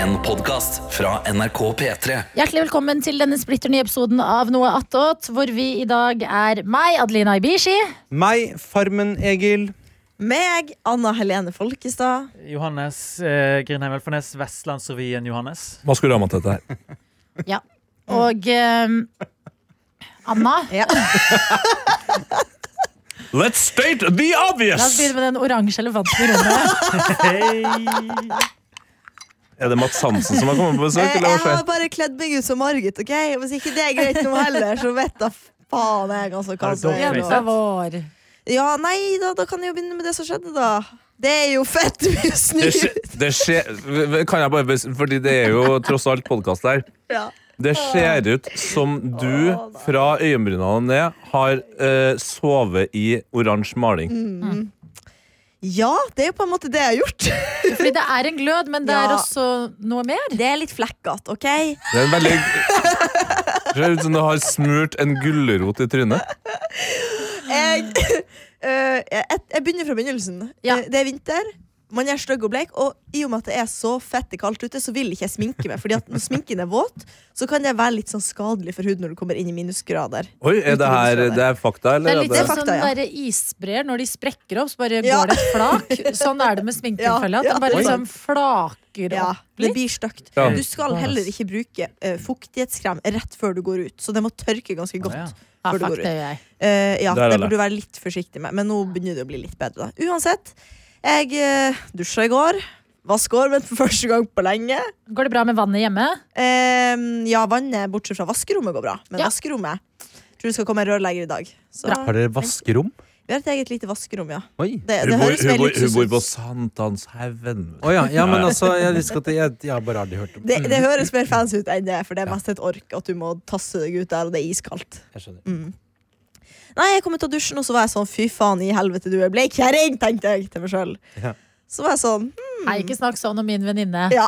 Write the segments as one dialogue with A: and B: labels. A: En podcast fra NRK P3
B: Hjertelig velkommen til denne splitter nye episoden av Noe attåt, hvor vi i dag er meg, Adelina Ibishi.
C: Meg, Farmen-Egil.
D: Meg, Anna Helene Folkestad.
E: Johannes eh, Grindheim Elfenes, Vestlandsrevyen Johannes.
F: Hva skulle du ha med til dette her?
B: Ja. Og ehm, Anna.
D: Ja.
F: Let's state the
B: La oss
F: obvious!
B: begynne med den oransje elefanten i rommet.
E: Hei!
F: Er det Mats Hansen som har kommet på
D: Jeg,
F: besøk? eller
D: Eh, jeg
F: hva
D: har
F: skjer?
D: bare kledd meg ut som Margit, OK? Hvis ikke det er greit nå heller, så vet da faen jeg altså hva
E: Er det
D: som er
E: dogface?
D: nå.
B: vår.
D: Ja, nei da, da kan jeg jo begynne med det som skjedde, da. Det er jo fett mye snø!
F: Det skjer, det skjer Kan jeg bare bes- Fordi det er jo tross alt podkast der.
D: Ja.
F: Det ser ut som du fra øyenbrynene og ned har eh, sovet i oransje maling.
D: ja, det er jo på en måte det jeg har gjort.
B: Fordi det er en glød, men det er
D: Ja.
B: også noe mer.
D: Det er litt flekkete, OK?
F: Det er en veldig Det ser ut som du har smurt en gulrot i trynet.
D: Jeg, øh, eh, jeg, jeg begynner fra begynnelsen.
B: Ja.
D: Eh, Det er vinter. Man er stygg og bleik, og i og med at det er så fette kaldt ute, så vil ikke jeg sminke meg. Fordi at når sminken er våt, så kan det være litt sånn skadelig for huden når du kommer inn i minusgrader.
F: Oi, er det her det er
B: Det
F: fakta,
B: er
F: eller?
B: litt
D: det er
B: sånn
D: fakta, ja.
B: der isbreer når de sprekker opp, så bare
D: Ja.
B: går det et flak. Sånn er det med sminken,
D: Ja,
B: føler jeg. At den
D: ja,
B: bare
D: det er
B: liksom flaker
D: Ja,
B: opp
D: det
B: litt.
D: blir stygt.
F: Ja.
D: Du skal heller ikke bruke eh, fuktighetskrem rett før du går ut, så det må tørke ganske godt.
E: Ja.
B: Ja,
D: før du
B: fuck,
D: går ut.
B: det gjør jeg.
D: Eh, ja,
F: Der er
D: det
F: det.
D: burde du være litt forsiktig med, men nå begynner det å bli litt bedre. da. Uansett, jeg uh, dusja i går. Vaska håret mitt for første gang på lenge.
B: Går det bra med vannet hjemme?
D: Ehm, ja, vannet bortsett fra vaskerommet går bra. Men
B: Ja.
D: vaskerommet tror det skal komme en rørlegger i dag. Så
C: Har dere vaskerom?
D: vi har et eget lite vaskerom, ja.
C: Oi.
D: Det,
F: Hun
D: det
F: bor,
D: høres
F: hun
D: veldig
F: bor, hun
D: luksus
F: bor på
D: ut.
F: Sankthanshaugen.
C: Å ja, ja, men altså, jeg, husker at jeg, jeg har bare aldri hørt om
D: Det,
F: Mm.
D: det høres mer fancy ut enn det, for det er mest et ork at du må tasse deg ut der, og det er iskaldt.
C: Jeg skjønner.
D: Nei, jeg kom ut av dusjen, og så var jeg sånn fy faen i helvete, du er bleik kjerring, tenkte jeg til meg sjøl.
C: Ja.
D: Så var jeg sånn
B: Nei, ikke snakk sånn om min venninne.
D: ja,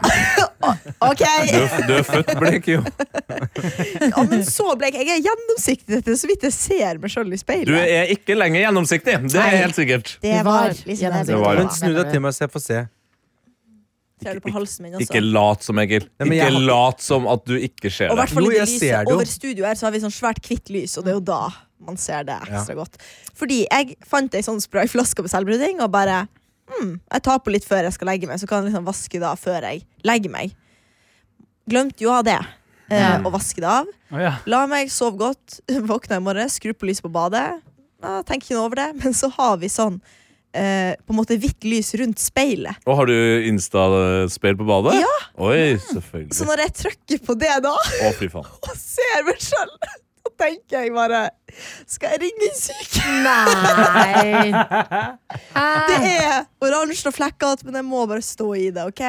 D: OK.
F: Du er, du er født blek, jo.
D: Ja, men så bleik. Jeg er gjennomsiktig, dette, så vidt jeg ser meg sjøl i
F: Du
D: speilet.
F: er ikke lenger gjennomsiktig. Det er helt sikkert.
D: Det
B: Du var
D: var liksom det
B: gjennomsiktig.
F: Det var
D: jeg ville
C: Men
D: ha.
C: snu deg til meg, så jeg får se.
D: Ser du på halsen min,
F: Ikke
D: altså.
F: lat som, Egil.
C: Ja, men
F: Ikke
C: jeg har-
F: lat som at du ikke ser
D: Og i
F: det.
D: hvert fall
C: Jo,
D: i det
C: jeg ser det
D: lyset
C: jo.
D: over studio her, så har vi sånn svært hvitt lys, og det er jo da man ser det ekstra godt. Fordi jeg fant ei sånn sprayflaske med selvbruding, og bare hmm, Jeg tar på litt før jeg skal legge meg, så kan jeg liksom vaske det av før jeg legger meg. Glemte jo av det. Eh, å vaske det av.
E: Å ja.
D: La meg sove godt, våkna i morgen, skru på lyset på badet. Ja, tenker ikke noe over det, men så har vi sånn eh, på en måte hvitt lys rundt speilet.
F: Og har du Insta-speil på badet?
D: Ja. Sånn
F: Oi,
D: Så
F: selvfølgelig.
D: når jeg trykker på det da,
F: Å, fy faen.
D: og ser meg sjøl, så tenker jeg bare Skal jeg ringe en syk?
B: Nei. Eh,
D: Det
B: Hæ?
D: er oransje og flekkete, men jeg må bare stå i det, OK?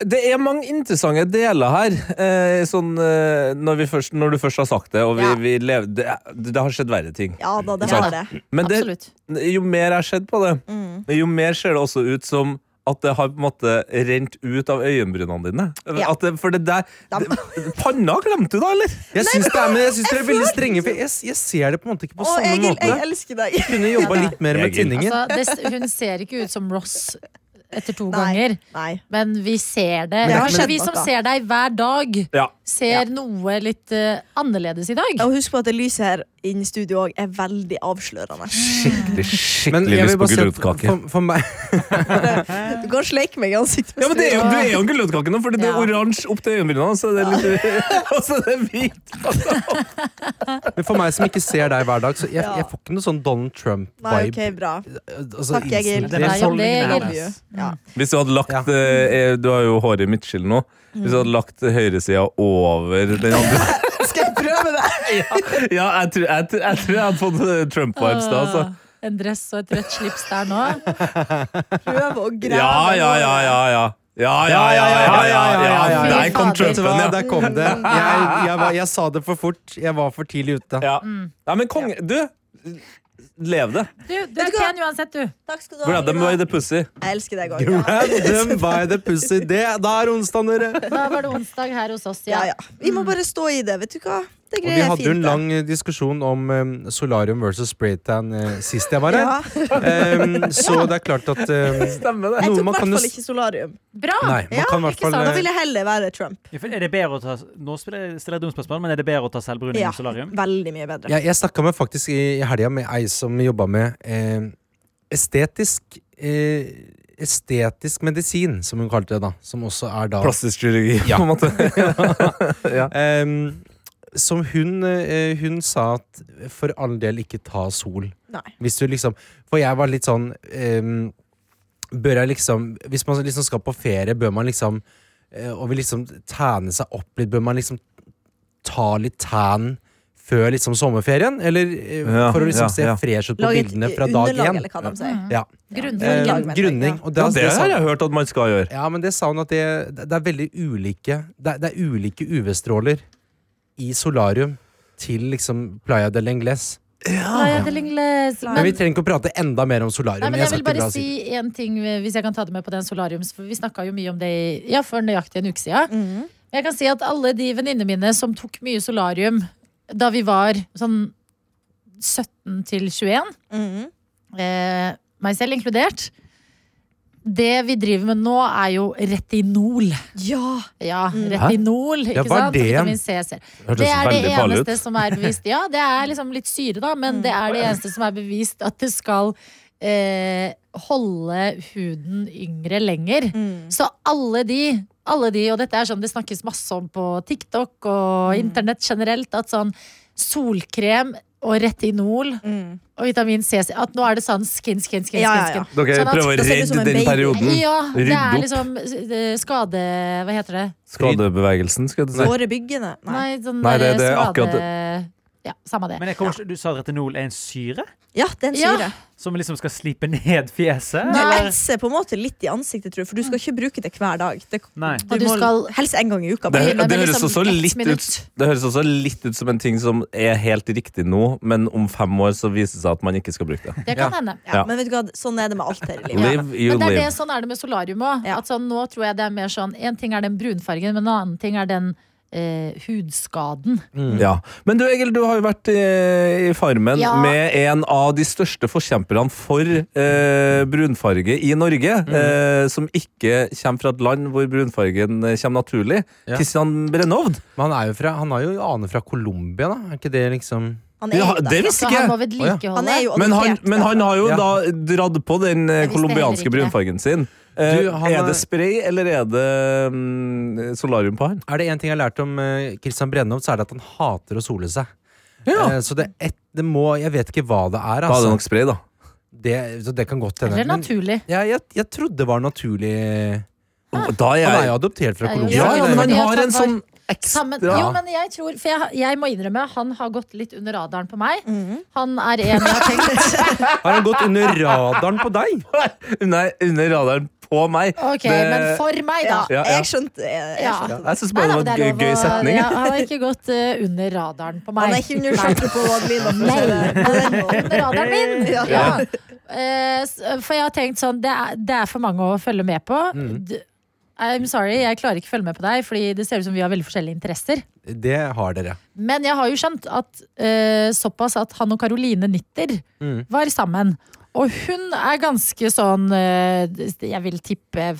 F: Det er mange interessante deler her. Eh, sånn, eh, når, vi først, når du først har sagt det, og vi,
B: Ja.
F: vi lev, det, er- det har skjedd verre ting.
D: Ja da, det
F: Ja.
D: har det.
F: Men det,
B: Absolutt.
F: jo mer jeg har sett på det,
D: Mm.
F: jo mer ser det også ut som at det har på en måte rent ut av øyenbrynene dine.
D: Ja.
F: At det, for det der
D: Dem.
F: det, Panna glemte du, da, eller?
C: Jeg syns det er, men jeg synes dere er veldig strenge, for jeg, jeg ser det på en måte ikke på
D: Å,
C: samme
D: Egil, jeg
C: måte.
D: elsker deg.
C: Kunne jobba
B: Ja, da.
C: litt mer med
F: Egil.
C: tinningen.
B: Altså, det, hun ser ikke ut som Ross etter to
D: Nei.
B: ganger,
D: Nei.
B: men vi ser det.
D: det har
B: Kanskje
D: skjedd
B: vi
D: nok,
B: som
D: da.
B: ser deg hver dag,
F: Ja.
B: ser noe litt eh, annerledes i dag.
D: Og husk på at det lyset her inne i studio òg er veldig avslørende.
F: Skikkelig skikkelig
C: Men jeg
F: lyst på
C: vil bare si at
F: gulrotkake.
C: for, for meg
D: Du kan sleike meg i ansiktet. hvis
F: Ja, men det er jo,
D: vil.
F: Du er jo en gulrotkake nå, fordi det er
B: Ja.
F: oransje opp til øyenbrynene. Så det er litt, og så er det hvit.
C: Men for meg som ikke ser deg hver dag, så jeg,
D: Ja.
C: jeg får ikke noe sånn Donald Trump-vibe.
D: Nei, OK, bra.
C: Altså,
D: Takk, Egil.
E: Det er
B: Nei, om det
E: befolkningen
B: er
D: Love
E: hennes.
D: you. Ja.
F: Hvis du hadde lagt
C: Ja.
F: eh, eh, Du har jo håret i midtskill nå. Hvis du hadde lagt høyresida over den andre
D: Skal jeg prøve det?
F: Ja, jeg tror jeg, tror- jeg, tror jeg hadde fått eh, Trump-vibes da, altså.
B: Åh, En dress og et rødt slips der nå.
D: Prøve å grave
F: Ja, ja, ja, ja, ja. Ja, ja, ja, ja, ja, ja, ja.
B: Fy
F: Der kom
B: fader.
F: Trumpen,
C: Vet du hva?
F: ja.
C: Der kom det. Jeg, jeg, var, jeg sa det for fort. Jeg var for tidlig ute.
F: ja. Nei, men konge Du, lev det.
B: Du, du er
D: du hva?
B: pen uansett, du.
D: Takk skal du ha.
F: Grab them by
D: Ida.
F: the pussy.
D: Jeg elsker deg òg.
C: Grab them by the pussy. Det, da er onsdagen, dere.
B: Da var det onsdag her hos oss,
D: Ja,
B: ja.
D: Mm. ja. Vi må bare stå i det, vet du hva. Det
C: Og vi hadde jo en
D: det.
C: lang eh, diskusjon om eh, solarium versus spraytan eh, sist jeg var her.
D: Ja.
C: Em, så det er klart at eh,
F: Stemmer det.
D: Jeg
C: Noe
D: tok i
C: man kan
D: hvert
C: jo
D: fall
C: s-
D: ikke solarium.
B: Bra!
C: Nei, man
D: Ja,
C: kan i hvert
B: ikke
C: fall
B: sant,
D: Da
C: eh,
D: vil jeg heller være Trump.
E: Ja, for Er det bedre å ta Nå stiller jeg stiller jeg et dumt spørsmål, men er det bedre å ta selvbruning
D: Ja,
E: enn solarium?
D: veldig mye bedre.
C: Jeg, jeg snakka med faktisk i, i helga med ei som jobba med eh, estetisk eh, Estetisk medisin, som hun kalte det da. Som også er da
F: Plastisk kirurgi, på en måte.
C: Em, Ehm, Som hun, eh, hun sa at for all del ikke ta sol.
D: Nei.
C: Hvis du liksom For jeg var litt sånn ehm, Bør jeg liksom Hvis man liksom skal på ferie, bør man liksom eh, Og vil liksom tæne seg opp litt, bør man liksom ta litt tan før liksom sommerferien? Eller eh,
F: Ja,
C: for å liksom
F: ja,
C: se
F: ja.
C: fresh ut på
D: Lag et
C: bildene fra dag
D: underlag,
B: liksom.
C: én?
D: eller hva de sier.
C: Ja.
B: Grunnlag.
C: Eh,
D: Grunnlag, mener jeg,
C: grunning.
D: ja.
C: Og
F: Ja,
C: da-
F: det
C: sa-
F: har jeg hørt at man skal gjøre.
C: ja, men det sa hun at det, det er veldig ulike Det er, det er ulike UV-stråler i solarium til liksom Playa del Ingles.
B: Playa del Ingles.
D: Men-
C: Men vi trenger ikke å prate enda mer om solarium.
B: Nei, men
C: har
B: jeg vil
C: sagt det
B: bare
C: bra
B: si
C: siden.
B: en ting, eh, hvis jeg kan ta det med på den solariums, for vi snakka jo mye om det i- ja, for nøyaktig en uke siden. Men Jeg kan si at alle de venninnene mine som tok mye solarium da vi var sånn 17 til 21,
D: Mhm.
B: eh, meg selv inkludert Det vi driver med nå, er jo retinol.
D: Ja!
B: Ja,
D: Mm.
B: retinol, ikke
C: Ja, hva er
B: sant?
C: det igjen?
B: Vitamin C, ser
F: Hørtes
B: det er det
F: veldig farlig
B: eneste
F: ut.
B: som er bevist. Ja, det er liksom litt syre, da, men det er det eneste som er bevist at det skal eh, holde huden yngre lenger. Så alle de, alle de, og dette er sånn det snakkes masse om på TikTok og internett generelt, at sånn solkrem og retinol
D: Mm.
B: og vitamin C At nå er det sånn skin, skin, skin,
D: Ja, ja,
B: skin.
D: ja.
B: skin.
F: Dere
B: Sånn at-
F: prøver
D: da
F: å
D: ser det ut som
F: redde
D: en
F: den
D: baby.
F: perioden.
B: Ja, det
F: Mm. Rydde
B: er
F: opp
B: liksom eh, skade... Hva heter det?
F: skadebevegelsen, skal jeg si.
D: Forebyggende? Nei.
B: Nei, sånn
F: Nei, det-
B: eh,
F: det er
B: skade...
F: akkurat
B: Ja, samme det.
E: Men jeg kommer, ikke- Du sa at retinol er en syre
D: Ja, den
B: Ja.
D: syre.
E: som liksom skal slipe ned fjeset?
D: Du
E: eller?
D: renser på en måte litt i ansiktet, tror jeg, for du skal ikke bruke det hver dag. Det,
E: Nei.
B: Mm. Og du
D: må
B: skal-
D: Helst en gang i uka.
F: Det,
D: bare.
B: men
F: det, høres
B: liksom
F: også
B: ett
F: litt ut,
B: minutt.
F: det høres også litt ut som en ting som er helt riktig nå, men om fem år så viser det seg at man ikke skal bruke det.
B: Det kan hende.
D: Ja, men vet du hva, sånn er det med alt her i livet.
F: Live, you
B: Men det er det,
F: live.
B: sånn er det med solarium òg.
D: Ja.
B: Sånn, nå tror jeg det er mer sånn En ting er den brunfargen, men en annen ting er den eh, hudskaden.
F: Mm. Ja. Men du Egil, du har jo vært i, i Farmen
B: Ja.
F: med en av de største forkjemperne for eh, brunfarge i Norge,
B: Mm.
F: eh, som ikke kommer fra et land hvor brunfargen eh, kommer naturlig.
C: Ja.
F: Kristian Brennovd.
C: Men han, er jo fra, han har jo aner fra Colombia, da. Er ikke det liksom
D: Han er
F: Ja,
D: jo
F: det
D: det.
B: Så
F: visste ikke
B: han Altså, må
F: jeg!
B: vedlikeholde.
D: Han er jo
F: Men han,
D: adoptert,
F: men
D: da.
F: han har jo
C: Ja.
F: da dratt på den eh,
B: visste
F: colombianske
B: heller ikke
F: brunfargen sin. Eh,
C: Du, han
F: er
C: er-
F: det spray, eller er det mm, solarium på han?
C: Er det én ting jeg har lært om eh, Christian Brennhoft, så er det at han hater å sole seg. Eh, så det, et, det må Jeg vet ikke hva det er,
F: Da er det
C: altså.
F: nok spray, da.
C: Det, så det kan godt hende.
B: Eller
C: Men
B: naturlig.
C: ja, jeg, jeg trodde det var naturlig
F: Da er
C: Han er
F: jeg
C: jo adoptert fra
B: Ja,
C: Colombia.
F: Ja, ja,
B: Ja,
F: men han
B: fordi at
F: har
B: han
F: en
B: var-
F: sånn
B: Sammen,
F: ekstra
B: jo, men jeg tror For jeg, jeg må innrømme, han har gått litt under radaren på meg.
D: Mm.
B: Han er en jeg har tenkt
C: Har han gått under radaren på deg?
F: Nei, under radaren på meg.
B: Ok,
F: Det-
B: men for meg, da.
F: Ja, ja.
D: Jeg skjønte, jeg, jeg
B: Ja.
D: skjønte det.
F: Jeg syns bare
B: Nei,
F: det
B: da,
F: var
B: men
F: en gøy,
B: lov
F: gøy
B: å-
F: setning.
B: Ja, han har ikke gått eh, under radaren på meg.
D: Han er ikke under
B: Nei.
D: skjorta på Adelina. for å si det.
B: under radaren min.
D: Ja.
B: Ja. Eh, s- for jeg har tenkt sånn det er, det er for mange å følge med på.
C: Mm.
B: D- I'm sorry, jeg klarer ikke å følge med på deg, Fordi det ser ut som vi har veldig forskjellige interesser.
C: Det har dere.
B: Men jeg har jo skjønt at eh, såpass at han og Karoline Nitter
C: Mm.
B: var sammen. Og hun er ganske sånn eh, Jeg vil tippe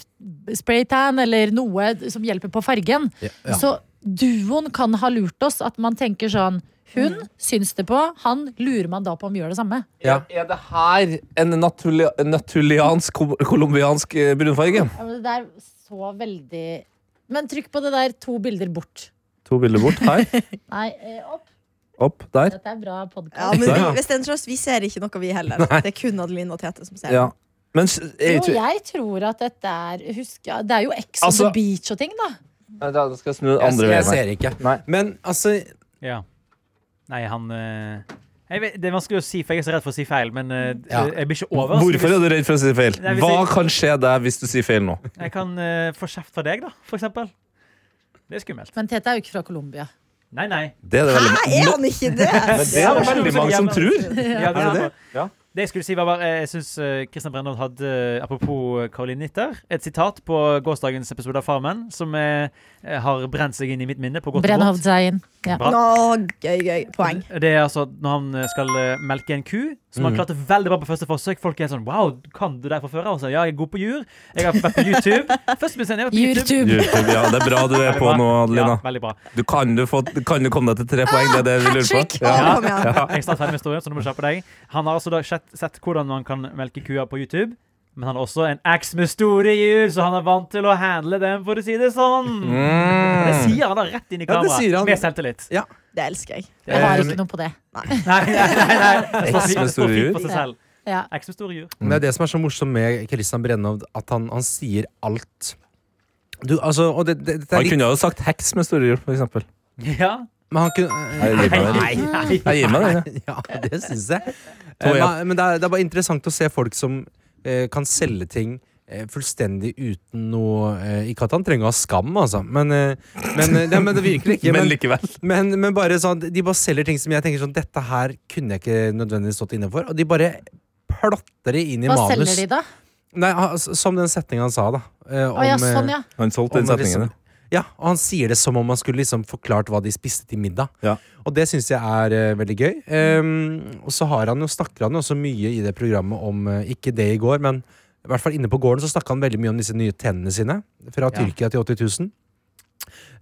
B: spraytan eller noe som hjelper på fargen.
C: Ja, ja.
B: Så duoen kan ha lurt oss at man tenker sånn Hun syns det på, han lurer man da på om gjør det samme.
C: Ja.
F: Er det her en naturli- natuliansk kol- kolumbiansk eh, brunfarge?
B: Ja, men det der så veldig Men trykk på det der to bilder bort.
F: To bilder bort. Her.
B: Nei, eh, opp.
F: Opp. Der.
B: Dette er bra podkast.
D: Ja, men
F: Ja.
D: vi- hvis det er en trøst, vi ser ikke noe, vi heller. Det er kun Adelina og Tete som ser det.
F: Ja. Men s- jeg,
B: jo,
F: tror-
B: jeg tror at dette er Husk, ja, det er jo Ex on the
F: Altså-
B: Beach og ting, da.
F: Nei, da skal jeg snu den
C: Jeg,
F: andre
C: jeg
F: veien. her.
C: ser ikke.
F: Nei.
C: Men altså
E: Ja. Nei, han eh, jeg vet, Det er vanskelig å si, for jeg er så redd for å si feil, men eh,
C: Ja.
E: jeg blir ikke over.
F: Hvorfor er du redd for å si feil?
E: Nei, altså, hvis
F: Hva
E: jeg-
F: kan skje deg hvis du sier feil nå?
E: Jeg kan eh, få kjeft fra deg, da, for eksempel. Det er skummelt.
B: Men Tete er jo ikke fra Colombia.
E: Nei, nei.
F: Det er det veldig,
D: Hæ, er han ikke
F: det
D: det?
F: er det veldig
E: sånn
F: mange som tror.
E: Ja, det,
F: Er
E: er
F: det
E: det? det jeg skulle si var bare eh, Jeg syns Kristian Brennhold hadde, eh, apropos Caroline Nitter, et sitat på gårsdagens episode av Farmen som eh, eh, har brent seg inn i mitt minne. på godt og vondt.
B: Brennhovdseien.
E: Bra.
D: Nå, gøy, gøy. Poeng.
E: Det er altså at når han skal eh, melke en ku, som
F: Mm.
E: han klarte veldig bra på første forsøk. Folk er sånn Wow, kan du det fra før? Og så, ja, jeg er god på jur. Jeg har vært på YouTube. Først begynte jeg, jeg var på YouTube.
B: YouTube.
F: YouTube, ja, det er bra du er på nå,
E: Ja,
F: Adelina.
E: veldig bra.
F: Du kan, du få, kan du komme deg til tre poeng? Det er det vi lurer
D: Hattrick!
F: på. Ja.
D: Kom igjen.
E: Jeg er snart ferdig med historien, så nå må du kjappe deg. Han har altså da sett, sett hvordan man kan melke kua på YouTube. Men han har også en ax med store hjul, så han er vant til å handle den, for å si det sånn.
F: Mm.
E: Det sier han da rett inn i
C: Mm. Ja, det
E: kameraet.
C: sier han. Eh.
E: med selvtillit.
D: Det elsker jeg.
B: Jeg har ikke noe på det.
E: Nei, nei, nei. nei. Det står
F: Ax med
E: fint- det står
F: store hjul.
E: fint for seg selv.
B: Ja.
E: Ax med store hjul.
C: Men Det er det som er så morsomt med Kristian Brennovd, at han, han sier alt. Du, altså, og det, det, det er
F: Han
C: litt,
F: kunne jo sagt heks med store hjul, for eksempel.
E: Ja.
C: men han kunne
F: Jeg gir meg den.
E: Nei, nei.
F: Jeg gir meg den. jeg.
C: Ja, det syns jeg.
F: Tror jeg.
C: Eh, nei, Men det er, det er bare interessant å se folk som eh, kan selge ting eh, fullstendig uten noe eh, Ikke at han trenger å ha skam, altså, men, eh, men, eh, ja, men det virker ikke.
F: Men
C: Men,
F: likevel.
C: men, men bare sånn, de bare selger ting som jeg tenker sånn Dette her kunne jeg ikke nødvendigvis stått inne for. Og de bare plotter det inn i
B: Hva
C: manus.
B: selger de, da?
C: Nei, han- som den setninga han sa, da. eh,
B: Å ja,
C: om, eh,
B: sånn, ja.
F: Han solgte den
C: om å
F: setningen.
C: liksom- Ja, og han sier det som om han skulle liksom forklart hva de spiste til middag.
F: Ja.
C: Og det syns jeg er eh, veldig gøy. Ehm, og så har han jo, snakker han jo også mye i det programmet om eh, Ikke det i går, men i hvert fall inne på gården så snakker han veldig mye om disse nye tennene sine. Fra Tyrkia til 80 000.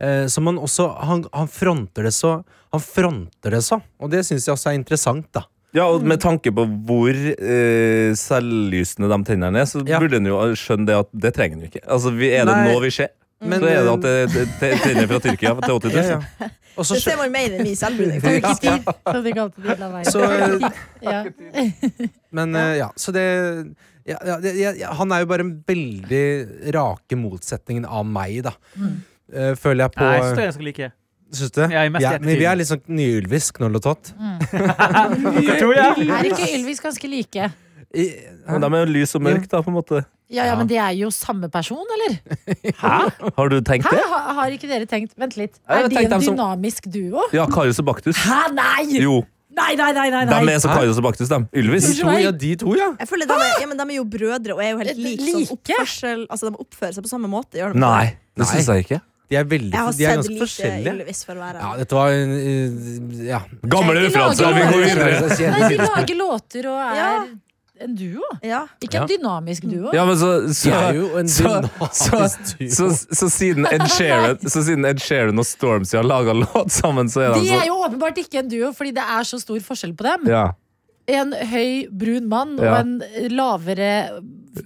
C: Eh, som han også han, han fronter det så Han fronter det så, og det syns jeg også er interessant, da.
F: Ja, og med tanke på hvor eh, selvlysende de tennene er, så
C: Ja.
F: burde en jo skjønne det at det trenger en jo ikke. Altså, vi, Er det
C: Nei.
F: nå vi ser,
C: Men,
F: så er det
C: eh,
F: at det, det, det tenner fra Tyrkia til 80 000.
C: ja, ja. Og så
D: Det
C: skjø-
D: ser man mer enn min selvbruning.
B: Tok ikke tid. Så de kalte det la være.
C: Så, eh,
B: ja.
C: Men ja, ja så det ja, ja, det- ja, ja, Han er jo bare en veldig rake motsetningen av meg, da. Eh, føler jeg på
E: Nei, jeg synes det er ganske like.
C: Syns du det?
E: Ja, jeg er mest
C: Vi er-
E: enig.
C: men vi er litt sånn nyulvisk, knoll og tott.
E: Jeg tror det.
B: Er ikke Ylvis ganske like?
C: I-
F: Men de er jo lys og mørk, da, på en måte.
B: Ja, ja, men de er jo samme person, eller?
F: Har du tenkt
B: Hæ?
F: det?
B: Har, har ikke dere tenkt Vent litt.
F: Jeg
B: Er
F: har
B: de
F: tenkt
B: en
F: dem som-
B: dynamisk duo?
F: Ja, Karius og Baktus.
B: Hæ, nei!
F: Jo,
B: Nei, nei, nei, nei,
F: de
B: nei.
F: er så Karius og Baktus, de. Ylvis.
C: De to, ja, de to, ja!
D: Jeg føler de er, ja, men de er jo brødre og er jo helt like. Sånn
B: Like?
D: oppførsel, altså, de oppfører seg på samme måte. Gjør de ikke det?
F: Nei, det
C: Nei.
F: syns jeg ikke.
C: De er veldig
D: Jeg har
C: De er
D: sett
C: ganske
D: lite
C: forskjellige.
D: Ylvis for å være
C: Ja, dette var en eh, Ja.
B: Jeg
F: Gamle
B: lager
F: referanser, vi går videre.
B: Nei, de lager låter og er
D: Ja.
B: en duo.
D: Ja.
B: Ikke en dynamisk duo.
F: Ja, men så, så,
C: De er jo en
F: så, så,
C: dynamisk duo.
F: så, så, siden Ed Sheeran, så siden Ed Sheeran og Stormzy har laga låt sammen, så er de
B: De er
F: så
B: jo åpenbart ikke en duo, fordi det er så stor forskjell på dem.
F: ja,
B: En høy, brun mann og
F: Ja.
B: en lavere,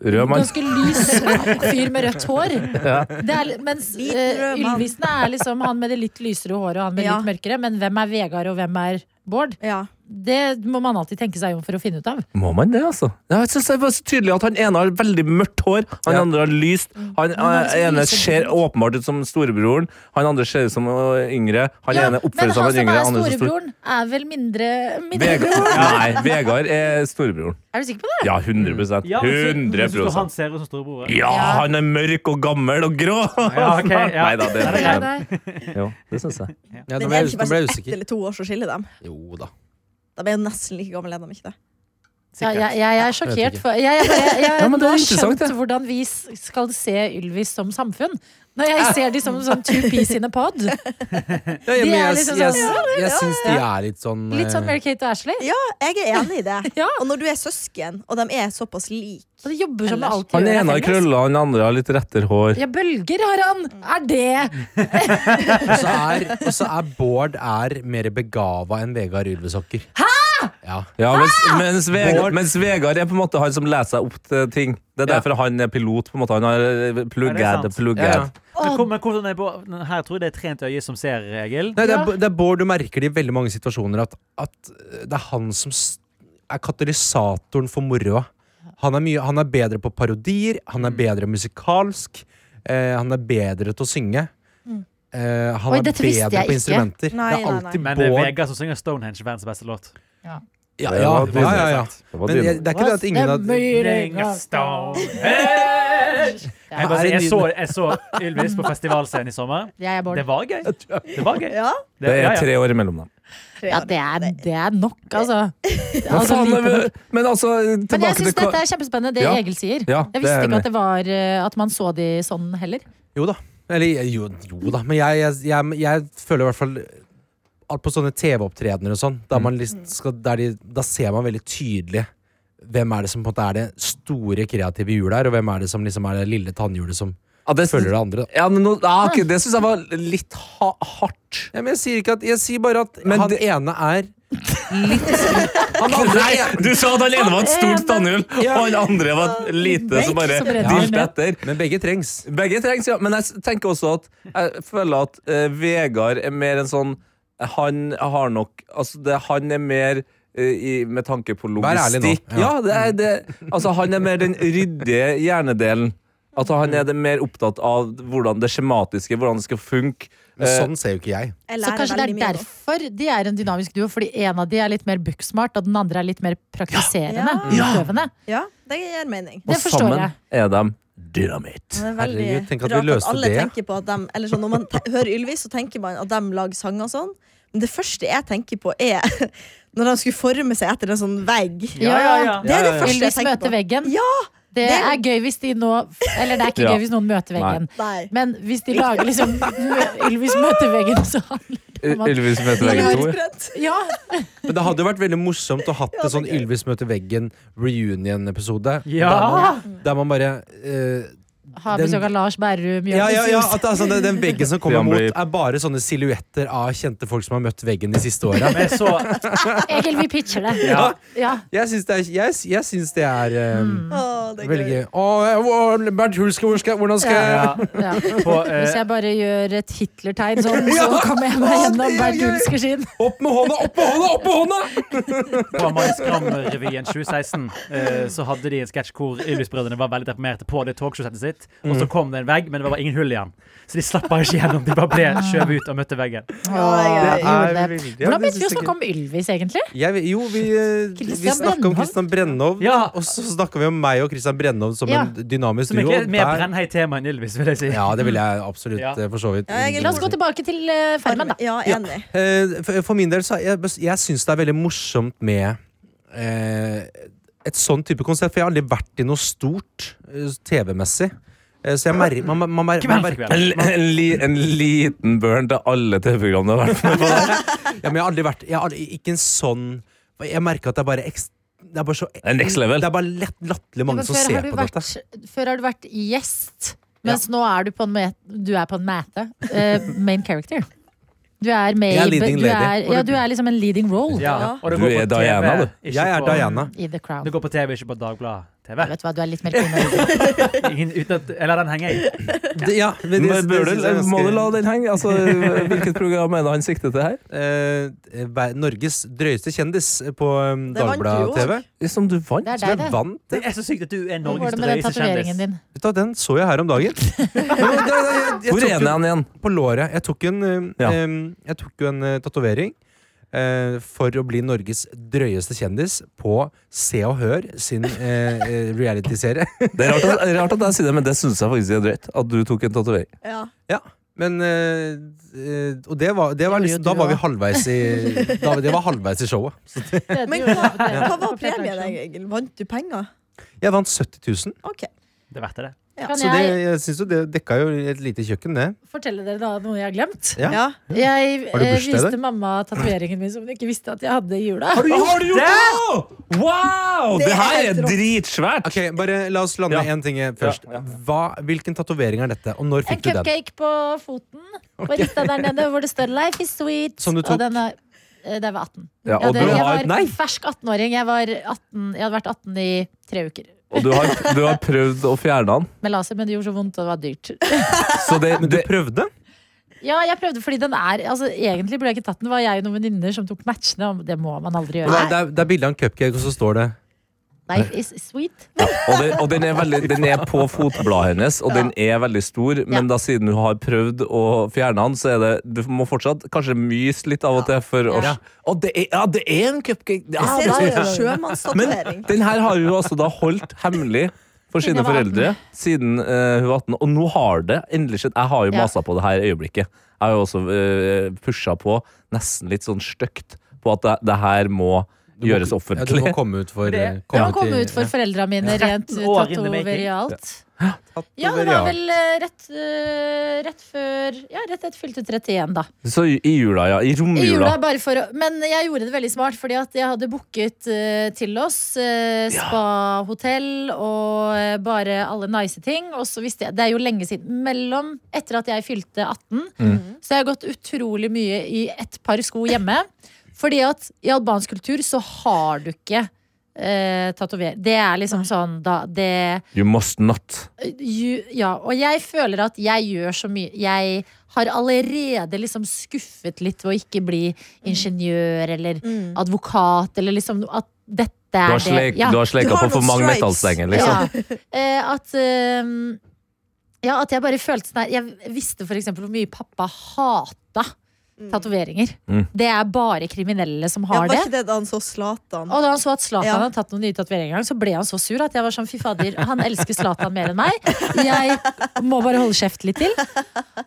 F: Rød mann.
B: ganske lys fyr med rødt hår.
F: Ja.
B: Det er, litt- mens
D: Hvit
B: eh,
D: rød mann.
B: Ylvisene er liksom han med det litt lysere håret og han med
D: Ja.
B: litt mørkere. Men hvem er Vegard, og hvem er Bård?
D: Ja.
B: Det må man alltid tenke seg om for å finne ut av.
F: Må man det, altså? Ja, jeg synes det var så tydelig at Han ene har veldig mørkt hår, han
C: Ja.
F: andre har lyst. Han
B: Han er så
F: eh, ene
B: lysebrun.
F: ser åpenbart ut som storebroren, han andre ser ut som eh, yngre. Han
B: Ja,
F: ene
B: men
F: oppfører
B: han
F: seg som
B: som
F: han yngre.
B: er
F: han andre som stor-
B: storebroren, er vel mindre, mindre
F: Vegard, nei, Vegard er storebroren.
B: Er du sikker på det?
F: Ja, 100
E: Ja, men så- men så står
F: 100
E: Han ser ut som storebror.
F: Ja, han er mørk og gammel og grå!
E: Ja, ok, ja.
F: Nei da, det er
B: Nei,
F: ikke
B: nei.
F: Jo, det syns jeg.
C: Ja, nå
D: Men
C: ble
D: er
C: jeg
D: det
C: us-
D: ikke
C: nå ble
D: bare sånn
C: jeg
D: ett
C: usikker.
D: eller to år som skiller dem?
C: Jo da.
D: De er jo nesten like gamle, er de ikke det?
B: Ja, jeg, jeg er sjokkert. For, jeg, jeg, jeg, jeg,
F: Ja, men det er
B: nå har skjønt
F: interessant, det.
B: hvordan vi s- skal se Ylvis som samfunn. Når jeg ser de som sånn two piece in a pod.
C: Ja, ja,
B: De
C: men
B: er
C: jeg
B: liksom
C: jeg,
B: sånn-
C: jeg, syns de er litt sånn
B: Litt sånn
C: eh,
B: Mary Kate og Ashley.
D: Ja, jeg er enig i det.
B: Ja.
D: Og når du er søsken, og de er såpass like
B: Og de jobber som med alt de
F: Han
B: gjør, er
F: ene har
B: felles.
F: krøller, han andre har litt rettere hår.
B: Ja, bølger har han! Er det
C: Og så er, og så er Bård er mer begava enn Vegard Ylvesokker. Hæ?! Ja.
F: Ja, mens, mens, Vegard,
C: Bård.
F: mens Vegard er på en måte han som leser seg opp til ting. Det er
C: Ja.
F: derfor han er pilot. på en måte Han har eh,
E: Ja,
F: plugged,
E: det er sant.
C: Ja.
F: plugged.
E: Men, hvor- men hvordan er på, her tror jeg det er trent øye som ser, Egil.
C: Nei, det,
B: Ja.
C: er, det er Bård du merker det i veldig mange situasjoner at, at det er han som s- er katalysatoren for moroa. Han, er mye- han er bedre på parodier, han
B: Mm.
C: er bedre musikalsk, eh, han er bedre til å synge. Eh, han
B: Mm. Oi,
C: er
B: dette visste
C: bedre
B: jeg
C: på
B: ikke.
C: instrumenter.
D: Nei,
C: det
D: nei,
C: er
D: nei.
C: alltid
E: Men det er
C: Bård
E: Vegard som synger Stonehenge, verdens beste låt.
C: ja, ja, ja, ja, ja.
F: Det var
C: Men jeg,
F: dynamisk.
C: det er ikke det at ingen har
B: Stemmer
E: Ring
B: av
E: of
B: stone.
E: Stonehenge. Jeg, bare,
C: Er det
E: sier, jeg, så,
C: nydelig?
E: jeg så Ylvis på festivalscenen i sommer.
B: Jeg er Bård.
E: Det var gøy. Det var gøy.
D: Ja.
E: Det-
F: Det er
E: ja, ja.
F: tre år imellom dem.
D: Tre
B: Ja,
D: år.
B: det er, det er nok, altså.
F: Men,
B: altså
F: faen,
B: lite nok.
F: men altså,
B: Men jeg
F: tilbake
B: syns
F: til
B: dette
F: hva
B: er kjempespennende, det
F: Ja.
B: Egil sier.
F: Ja,
B: Jeg
F: det er
B: visste
F: enig.
B: ikke at, det var, eh, at man så de sånn heller.
C: Jo da. Eller jo, jo da, men jeg, jeg, jeg, jeg føler i hvert fall alt på sånne TV-opptredener og sånn, der, man liksom skal, der de, da ser man veldig tydelig hvem er det som på en måte er det store kreative hjulet her, og hvem er det som liksom er det lille tannhjulet som
F: Ja, det,
C: følger det andre. Da.
F: ja, men nå, ja, ok, det syns jeg var litt ha hardt.
C: Ja, men jeg sier ikke at Jeg sier bare at
F: Men
C: han
F: det-
C: ene er
F: Han andre, du sa at alene var et stort tannhull, og han andre var et lite som bare
B: Som redder
F: diltet
B: han
F: etter.
C: Men begge trengs.
F: Begge trengs, ja. Men jeg s- tenker også at jeg føler at eh, Vegard er mer en sånn Han har nok Altså, det, han er mer eh, i, med tanke på
C: Vær ærlig nå.
F: logistikk. Ja, det er det. Altså, han er mer den ryddige hjernedelen. At han er det mer opptatt av hvordan det skjematiske, hvordan det skal funke.
C: Men
F: Eh,
C: sånn ser jo ikke jeg.
B: Så
D: Jeg lærer
B: kanskje det er
D: veldig mye nå.
B: derfor de er en dynamisk duo, fordi en av de er litt mer booksmart, og den andre er litt mer praktiserende.
F: Ja.
B: Utøvende.
D: Ja, det gir mening.
F: og
B: Det forstår
F: sammen
B: jeg.
F: er de dynamitt.
D: Det er veldig
C: Herregud, tenk at vi
D: rart at
C: løste
D: alle
C: det.
D: tenker på at dem Eller sånn, Når man te hører Ylvis, så tenker man at dem lager sanger og sånn. Men det første jeg tenker på, er når de skulle forme seg etter en sånn vegg.
E: Ja, ja, ja.
D: Det er det første jeg
B: Ylvis
D: tenker
B: møter
D: på.
B: veggen.
D: Ja!
B: Det
D: Det-
B: er gøy hvis de nå Eller det er ikke
F: Ja.
B: gøy hvis noen møter veggen.
D: Nei.
B: Men hvis de lager liksom Ylvis møter veggen, så handler det om at
F: Ylvis møter
B: Ja,
F: begge
B: men-
F: to.
B: Ja,
C: Men det hadde jo vært veldig morsomt å hatt en sånn Ylvis møter veggen reunion-episode. Der,
E: Ja!
C: man- der man bare eh,
B: Har
C: Den-
B: besøk av Lars Berrum,
C: Ja,
B: Jonis
C: ja, ja
B: Josef.
C: at det er sånn, den- den veggen som kommer
F: Stian
C: mot,
F: blir-
C: er bare sånne silhuetter av kjente folk som har møtt veggen de siste åra.
E: Men så
B: Egil, vi pitcher det.
E: Ja.
B: Ja.
C: Jeg syns det er, jeg, jeg synes det er eh,
D: Å, det er
C: veldig
D: gøy.
C: gøy. Å, å, Bernt Hulsker, hvor skal, hvordan skal jeg
E: ja.
B: Ja.
E: På, eh,
B: Hvis jeg bare gjør et Hitler-tegn sånn, så kommer jeg meg gjennom Bernt Hulsker sin.
C: Opp med hånda, opp med hånda, opp med hånda!
E: På Mannsgram-revyen 2016 eh, Så hadde de en sketsj hvor Ylvis-brødrene var veldig deprimerte på det talkshowsettet sitt. Og
F: Mm.
E: så kom det en vegg, men det var ingen hull i den. Så de slapp bare ikke gjennom. De bare ble skjøvet ut og møtte veggen.
D: Ja,
B: Åh, gjorde det. Hvordan begynte
C: veldig- ja, det
B: vi å
C: synes jeg
B: snakke om Ylvis, egentlig?
C: Jeg, vet- jo, vi, eh, vi
B: Christian
C: snakka om
B: Brennhov.
C: Christian Brennhov,
E: Ja.
C: og så snakka vi om meg og Christian Brennhov som
B: Ja.
C: en dynamisk
E: Som
C: duo.
E: egentlig er et mer
C: Der-
E: brennheit tema enn Ylvis, vil jeg si.
C: Ja, det vil jeg absolutt
E: Ja.
C: eh, for så vidt.
D: Ja, jeg er
B: La oss gå tilbake til eh, Farmen, da.
D: Ja, enig.
C: Eh, for, for min del så er jeg, jeg syns det er veldig morsomt med eh, et sånn type konsept, for jeg har aldri vært i noe stort eh, TV-messig. Eh, så jeg merker man, man, man, mer- man,
E: Kveld for
C: merker-
E: kveld.
F: En, en, li, en liten børn til alle TV-programmene. har vært med på.
C: ja, men jeg har aldri vært jeg har aldri, Ikke en sånn Jeg merker at det er bare ekst, Det er bare så
F: er next level.
C: Det er bare lett,
B: Men
C: latterlig mange som
B: før
C: ser
B: har du
C: på dette.
B: vært- Før har du vært gjest, mens nå er du på en mete. Du er på en mete. eh, main character. Du er med
C: Jeg er
B: i-
C: leading
B: du
C: lady.
B: er, ja, du er liksom en leading role
E: Ja, og det
F: Du
E: går på
F: er
E: TV,
F: Diana, du.
E: ikke
C: Jeg er
E: på-
C: Diana.
B: i The Crown.
E: Det går på TV, ikke på Dagbladet-TV.
B: Vet du hva, du er litt mer kvinne.
E: Uten at Eller den henger i.
C: Det, ja, men det-
F: Men
C: det
F: bør
C: synes jeg er
F: du, må
C: ganske-
F: du la den henge? Altså, hvilket program er det han sikter til her?
C: eh, ver- Norges drøyeste kjendis på um,
D: Det vant du jo.
C: Dagbladet-TV.
F: Som du vant?
B: Det er
C: Som
B: deg,
C: jeg
B: det.
C: vant
E: Det er så sykt at du er
B: Hvor
E: Norges
B: går det med den
E: drøyeste
B: tatoveringen
E: kjendis.
B: din?
C: Vet du hva, Den så jeg her om dagen. Men det- det- jeg- jeg
F: Hvor
C: tok
F: er
C: jo-
F: han igjen?
C: På låret. Jeg tok jo en, eh,
F: Ja.
C: em, jeg tok jo en eh, tatovering eh, for å bli Norges drøyeste kjendis på Se og Hør sin eh, eh, reality-serie.
F: Det er rart at, rart at jeg sier det, men det syns jeg faktisk er drøyt. At du tok en tatovering.
D: Ja.
C: Men eh, eh, Og det var, det var
B: Gjorde jo
C: liksom, da
B: du
C: var vi
B: også.
C: halvveis i da, Det var halvveis i showet.
D: Men hva, hva var premien, egentlig? Vant du penger?
C: Jeg vant 70 000,
D: OK.
E: Det er verdt det.
B: Kan
C: så det,
B: jeg
C: jeg syns jo det dekka jo et lite kjøkken, Altså, det.
B: fortelle dere da noe jeg har glemt?
C: Ja.
D: Ja.
B: Jeg
C: Har du
B: eh,
C: bursdag i dag?
B: viste mamma tatoveringen min som hun ikke visste at jeg hadde i jula.
F: Har du gjort det?! Wow!
D: Det
F: Det her
D: er
F: er
D: helt rått.
F: dritsvært!
C: Ok, bare La oss lande
F: Ja.
C: én ting først. Hva, hvilken tatovering er dette, og når
B: En
C: fikk du den?
B: cupcake på foten. På rista der nede hvor det står 'Life is sweet'.
C: Som du
B: Og
C: tok?
B: den er, eh, da jeg var 18.
F: Ja,
B: Ja,
F: og,
B: det,
F: du
B: jeg
F: har,
B: var
C: nei.
B: fersk 18-åring. Jeg, var 18, jeg hadde vært 18 i tre uker
F: og du, har, du har prøvd å fjerne den.
B: med laser, men det gjorde så vondt, og det var dyrt.
F: Så det,
C: Men du
F: det,
C: prøvde?
B: Ja, jeg prøvde, fordi den er altså, Egentlig burde jeg ikke tatt den. Det var jeg og noen venninner som tok matchene. Og det må man aldri
C: Det
B: gjøre.
C: er, det er- det er bilde av en cupcake, og så står det
B: Life is sweet.
F: og, det, og den, er veldig, den er på fotbladet hennes, og den er veldig stor. Men da siden du har prøvd å fjerne den, så er det Du må fortsatt kanskje myse litt av og til. For å,
B: Ja.
F: Å, det er, ja, det er en cupcake! Ja,
D: Ser
F: det
D: ut som
F: er-
D: en
F: Men
D: sjømannstatovering.
F: den her har hun altså da holdt hemmelig for
B: Siden
F: sine
B: jeg var
F: foreldre siden eh, hun var 18, og nå har det endelig skjedd. Jeg har jo
B: Ja.
F: masa på det her øyeblikket. eh, Jeg har jo også uh, pusha på, nesten litt sånn stygt, på at det, det her må
C: Du må-
F: gjøres
C: Ja, du må
F: offentlig.
C: komme ut for
E: Det-
C: eh,
B: Jeg må
C: i-
B: komme ut for
C: ja.
B: foreldra mine rent
E: 13 år in the making.
B: tatoverialt. Ja, det var
C: Tatoverial.
B: vel eh, rett, eh, rett før Ja, rett etter fylte 31, da.
F: Så i i jula, ja. I
B: Jeg gjorde
F: romjula.
B: det bare for å, men jeg gjorde det veldig smart, fordi at jeg hadde booket eh, til oss eh, spa-hotell og eh, bare alle nice ting. Og så visste jeg, Det er jo lenge siden. Mellom Etter at jeg fylte 18, så jeg har gått utrolig mye i ett par sko hjemme. Fordi at i albansk kultur så har du ikke eh, tatovering. Det er liksom sånn da det
F: You must not.
B: Ju- Ja, og jeg føler at jeg gjør så mye Jeg har allerede liksom skuffet litt ved å ikke bli ingeniør eller advokat eller liksom at dette
F: Du
B: er
F: har, sleik,
B: det. Ja.
F: du har sleika
D: Du har
F: på for
D: noen
F: mange
D: stripes.
F: metallstenger, liksom.
B: Ja. Eh, at ehm, Ja, at jeg bare følte sånn her Jeg visste for eksempel hvor mye pappa hata tatoveringer.
F: Mm.
B: Det er bare kriminelle som
D: Ja,
B: har
D: var
B: det.
D: ikke det da han så Zlatan?
B: Og da han så at Zlatan
D: Ja.
B: hadde tatt noen nye tatoveringer, en gang, så ble han så sur at jeg var sånn fy fader, han elsker Zlatan mer enn meg. Jeg må bare holde kjeft litt til.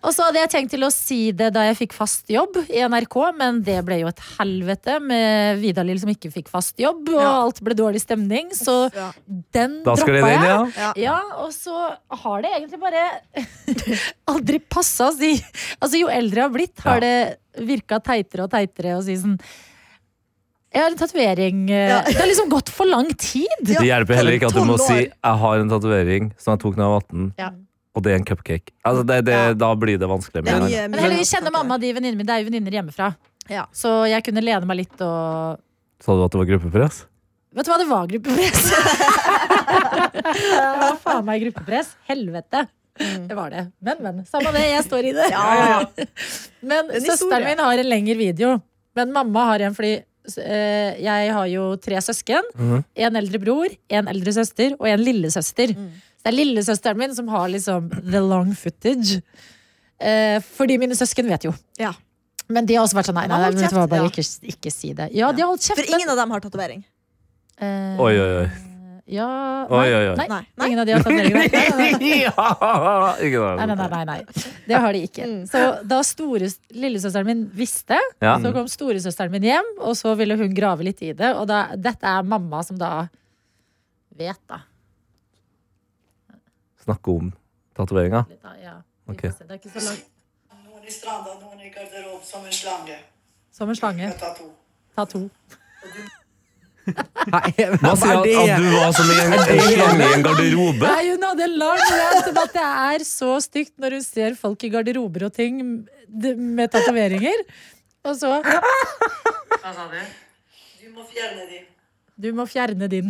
B: Og så hadde jeg tenkt til å si det da jeg fikk fast jobb i NRK, men det ble jo et helvete med Vidar-Lill som ikke fikk fast jobb, og
D: Ja.
B: alt ble dårlig stemning, så
D: Ja.
B: den
F: Da skal
B: droppa
F: det
B: jeg.
F: inn, ja.
D: Ja.
B: Ja, og så har det egentlig bare aldri passa å si Altså, jo eldre jeg har blitt, har
F: Ja.
B: det virka teitere og teitere å si sånn Jeg har en tatovering eh,
D: Ja.
B: Det har liksom gått for lang tid.
D: Ja.
F: Det hjelper heller ikke at du må
D: 12 år.
F: si 'jeg har en tatovering som jeg tok da jeg var 18',
B: Ja.
F: og det er en cupcake. Altså, det, det,
D: Ja.
F: Da blir det vanskelig.
D: Det er
F: mener jeg.
D: mye-
B: Men heldigvis kjenner mamma de venninnene mine. Det er jo venninner hjemmefra.
D: Ja.
B: Så jeg kunne lene meg litt og
F: Sa du at det var gruppepress?
B: Vet du hva, det var gruppepress! det var faen meg gruppepress. Helvete.
D: Mm.
B: Det var det. Men, men. Samme det, jeg står i det. Men
D: En
B: søsteren
D: historie.
B: min har en lengre video. Men mamma har en fordi s- eh, jeg har jo tre søsken.
F: Mhm.
B: En eldre bror, en eldre søster og en lillesøster.
D: Mm.
B: Så det er lillesøsteren min som har liksom the long footage. Eh, fordi mine søsken vet jo.
D: Ja.
B: Men de har også vært sånn nei, nei,
D: Mamma har
B: vet du hva,
D: kjeft,
B: bare
D: ja.
B: ikke, ikke si det. Ja, de har holdt kjeft.
D: For ingen av dem har tatovering.
B: men-
F: Oi, oi, oi.
B: Ja, nei,
F: Oi, oi, oi.
B: Nei,
D: Nei, nei.
B: Ingen av de har tatoveringer. Nei, nei, nei.
F: Ja! Ikke det.
B: Nei, nei, nei, nei, nei. Det har de ikke.
D: Mm.
B: Så da store, lillesøsteren min visste,
F: Ja.
B: så kom storesøsteren min hjem, og så ville hun grave litt i det. Og da, dette er mamma som da vet, da.
F: Snakke om tatoveringa.
B: Litt da ja. Vi
F: Ok.
B: får se. Det er ikke så langt.
G: Noen i stranda, noen i garderob som en slange.
B: Som en slange.
G: Jeg tar to.
B: Ta to.
F: Hva sier at, at du var som i en, en slange i en garderobe?
B: Nei, hun hadde en lang rant om at det er så stygt når hun ser folk i garderober og ting d- med tatoveringer. Og så
G: Hva sa du? Du må fjerne de.
B: Du må fjerne din.